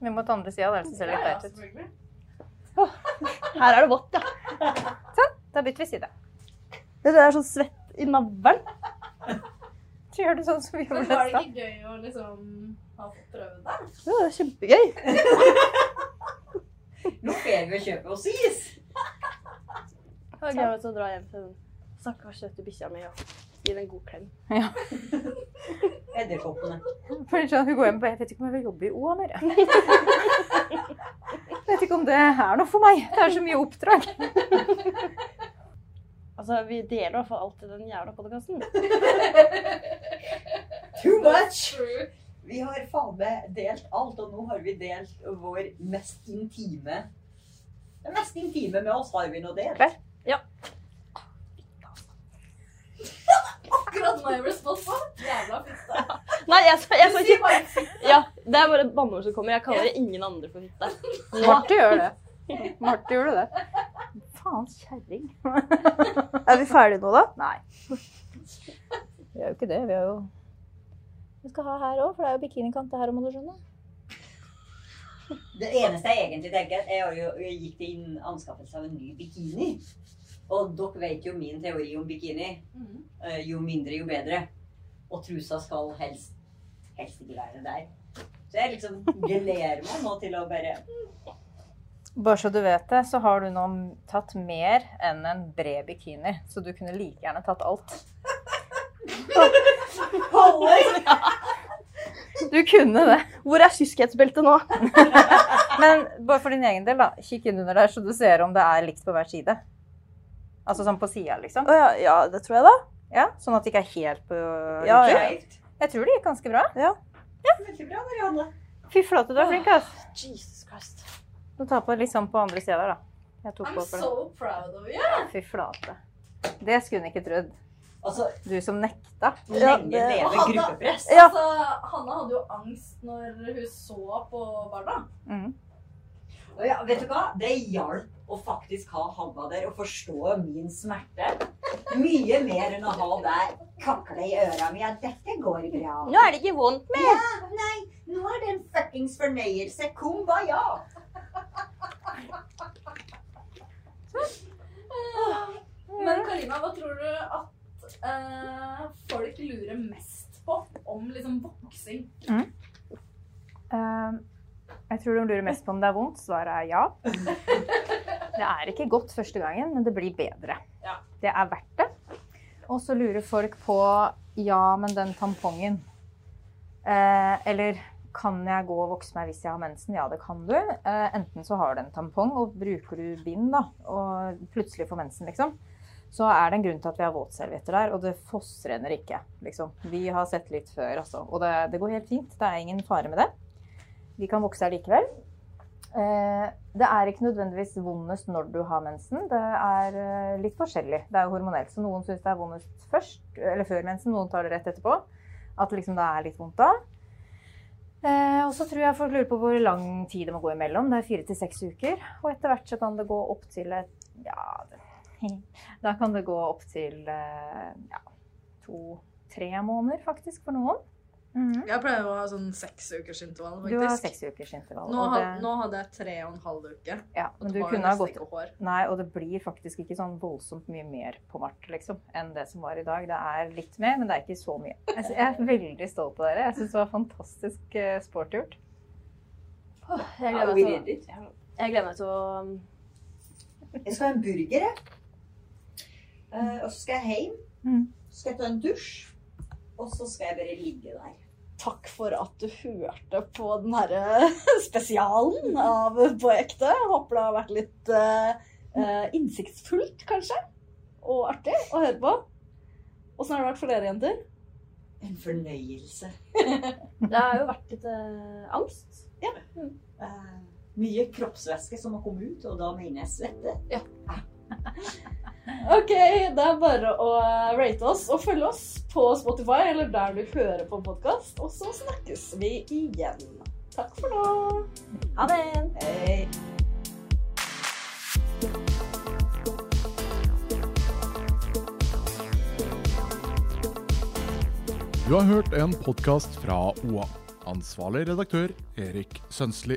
Speaker 4: Men mot andre sida, det er det som ser litt teit ut.
Speaker 2: selvfølgelig.
Speaker 5: Her er det vått, ja.
Speaker 4: Sånn, Da bytter vi side.
Speaker 5: Det er sånn svett i navlen.
Speaker 4: Så gjør du sånn som vi
Speaker 2: Men
Speaker 4: gjorde
Speaker 2: var
Speaker 4: i
Speaker 2: det
Speaker 4: stad.
Speaker 2: ikke gøy å liksom ha fått prøve det?
Speaker 5: Ja, det er kjempegøy.
Speaker 3: Nå får vi å kjøpe oss is.
Speaker 5: Jeg gleder meg til å dra hjem til den stakkars søte bikkja mi og gi den en god klem.
Speaker 3: Edderkoppene.
Speaker 4: Fordi sånn, hun går hjem på, Jeg vet ikke om jeg vil jobbe i OA mer. jeg. Jeg vet ikke om det er noe for meg. Det er så mye oppdrag.
Speaker 5: Altså, Vi deler i hvert fall alltid den jævla podkasten.
Speaker 3: Too much! Vi har faen meg delt alt, og nå har vi delt vår mest intime Det mest intime med oss har vi nå delt.
Speaker 4: Klart.
Speaker 2: Akkurat nå jeg ble spådd på. Jævla fitte.
Speaker 5: Nei, jeg sa, jeg
Speaker 2: Du
Speaker 5: sa
Speaker 2: sier
Speaker 5: ikke
Speaker 2: bare
Speaker 5: Ja, Det er bare et banneord som kommer. Jeg kaller ingen andre for fitte.
Speaker 4: Marte gjør det. Marte gjør det. Faen kjerring.
Speaker 5: Er vi ferdige nå, da?
Speaker 4: Nei. Vi er jo ikke det. Vi er jo Vi skal ha her òg, for det er jo bikinikant det her òg, må du skjønne.
Speaker 3: Det eneste jeg egentlig tenker, er jo- jeg gikk til inn- anskaffelse av en ny bikini. Og dere vet jo min teori om bikini. Eh, Jo mindre, jo bedre. Og trusa skal helst, helst ikke være der. Så jeg liksom gleder meg nå til å bare
Speaker 4: Bare så du vet det, så har du nå tatt mer enn en bred bikini. Så du kunne like gjerne tatt alt. Du kunne det.
Speaker 5: Hvor er kyskhetsbeltet nå?
Speaker 4: Men bare for din egen del, da. Kikk innunder der, så du ser om det er likt på hver side. Altså sånn på sida, liksom.
Speaker 5: Å ja, ja, det tror jeg, da.
Speaker 4: Ja, Sånn at det ikke er helt på
Speaker 5: Ja, ja.
Speaker 3: Perfekt.
Speaker 4: Jeg tror det gikk ganske bra.
Speaker 3: Veldig bra, Marianne.
Speaker 4: Fy flate, du er flink, ass.
Speaker 5: Ah, Jesus Christ.
Speaker 4: Du tar på litt sånn på andre sida der, da. Jeg tok
Speaker 2: I'm
Speaker 4: på for det.
Speaker 2: so proud of you.
Speaker 4: Fy flate. Det skulle hun ikke trodd.
Speaker 3: Altså,
Speaker 4: Du som nekta.
Speaker 5: Ja,
Speaker 3: lenge
Speaker 5: det-
Speaker 3: leve
Speaker 2: Hanna-
Speaker 3: gruppepress.
Speaker 5: Ja.
Speaker 2: Altså, Hanna hadde jo angst når hun så på barna.
Speaker 4: Mm.
Speaker 3: Og ja, vet du hva? Det hjalp å faktisk ha Hanna der og forstå min smerte. Mye mer enn å ha deg kakle i øra mi. Ja, dette går bra.
Speaker 5: Nå er det ikke vondt mer.
Speaker 3: Ja, nei, nå er det en fuckings fornøyelse. Kumbaya!
Speaker 2: Men Karina, hva tror du at eh, folk lurer mest på om liksom voksing?
Speaker 4: Eh, jeg tror de lurer mest på om det er vondt. Svaret er ja. Det er ikke godt første gangen, men det blir bedre.
Speaker 2: Ja.
Speaker 4: Det er verdt det. Og så lurer folk på ja, men den tampongen. Eh, eller kan jeg gå og vokse meg hvis jeg har mensen? Ja, det kan du. Eh, enten så har du en tampong og bruker du bind, da, og plutselig får mensen, liksom. Så er det en grunn til at vi har våtservietter der, og det fossrenner ikke. Liksom. Vi har sett litt før, altså. Og det, det går helt fint. Det er ingen fare med det. Vi kan vokse her likevel. Eh, Det er ikke nødvendigvis vondest når du har mensen. Det er eh, litt forskjellig. Det er jo hormonelt, så noen syns det er vondest først, eller før mensen, noen tar det rett etterpå. At liksom det er litt vondt da. Eh, Og så tror jeg folk lurer på hvor lang tid det må gå imellom. Det er fire til seks uker. Og etter hvert så kan det gå opp til et Ja, det- da kan det gå opp til eh, ja, to-tre måneder, faktisk, for noen. Mhm.
Speaker 6: Jeg pleier å ha sånn seks ukers intervall,
Speaker 4: Du har
Speaker 6: faktisk.
Speaker 4: seks ukers intervall.
Speaker 6: Nå,
Speaker 4: og
Speaker 6: ha,
Speaker 4: det-
Speaker 6: nå hadde jeg tre og en halv uke.
Speaker 4: Ja,
Speaker 6: Og
Speaker 4: men
Speaker 6: det
Speaker 4: du
Speaker 6: var jo
Speaker 4: kunne ha
Speaker 6: nesten
Speaker 4: gått
Speaker 6: ikke hår.
Speaker 4: Nei, og det blir faktisk ikke sånn voldsomt mye mer på Marte liksom, enn det som var i dag. Det er litt mer, men det er ikke så mye. Altså, Jeg sy- jeg er veldig stolt av dere. Jeg syns det var fantastisk eh, sport gjort.
Speaker 5: Jeg
Speaker 3: Ja,
Speaker 4: altså,
Speaker 5: gleder
Speaker 3: we
Speaker 5: meg til,
Speaker 3: did it.
Speaker 5: jeg gleder meg til å
Speaker 3: Jeg skal ha en burger, jeg. Eh, og så skal jeg hjem.
Speaker 4: Mm.
Speaker 3: Så skal jeg ta en dusj. Og så skal jeg bare ligge der.
Speaker 6: Takk for at du hørte på den herre spesialen av På ekte. Håper det har vært litt eh, innsiktsfullt, kanskje. Og artig å høre på. Åssen har det vært for dere, jenter?
Speaker 3: En fornøyelse.
Speaker 5: Det har jo vært litt eh, angst.
Speaker 3: Eh, mye kroppsvæske som har kommet ut, og da mener jeg svette.
Speaker 6: Ok, det er bare å eh, rate oss og følge oss på Spotify eller der du hører på podkast. Og så snakkes vi igjen. Takk for nå.
Speaker 3: Eh,
Speaker 5: Ha det.
Speaker 3: Hei.
Speaker 1: Du har hørt en podkast fra OA. Ansvarlig redaktør Erik Sønsli.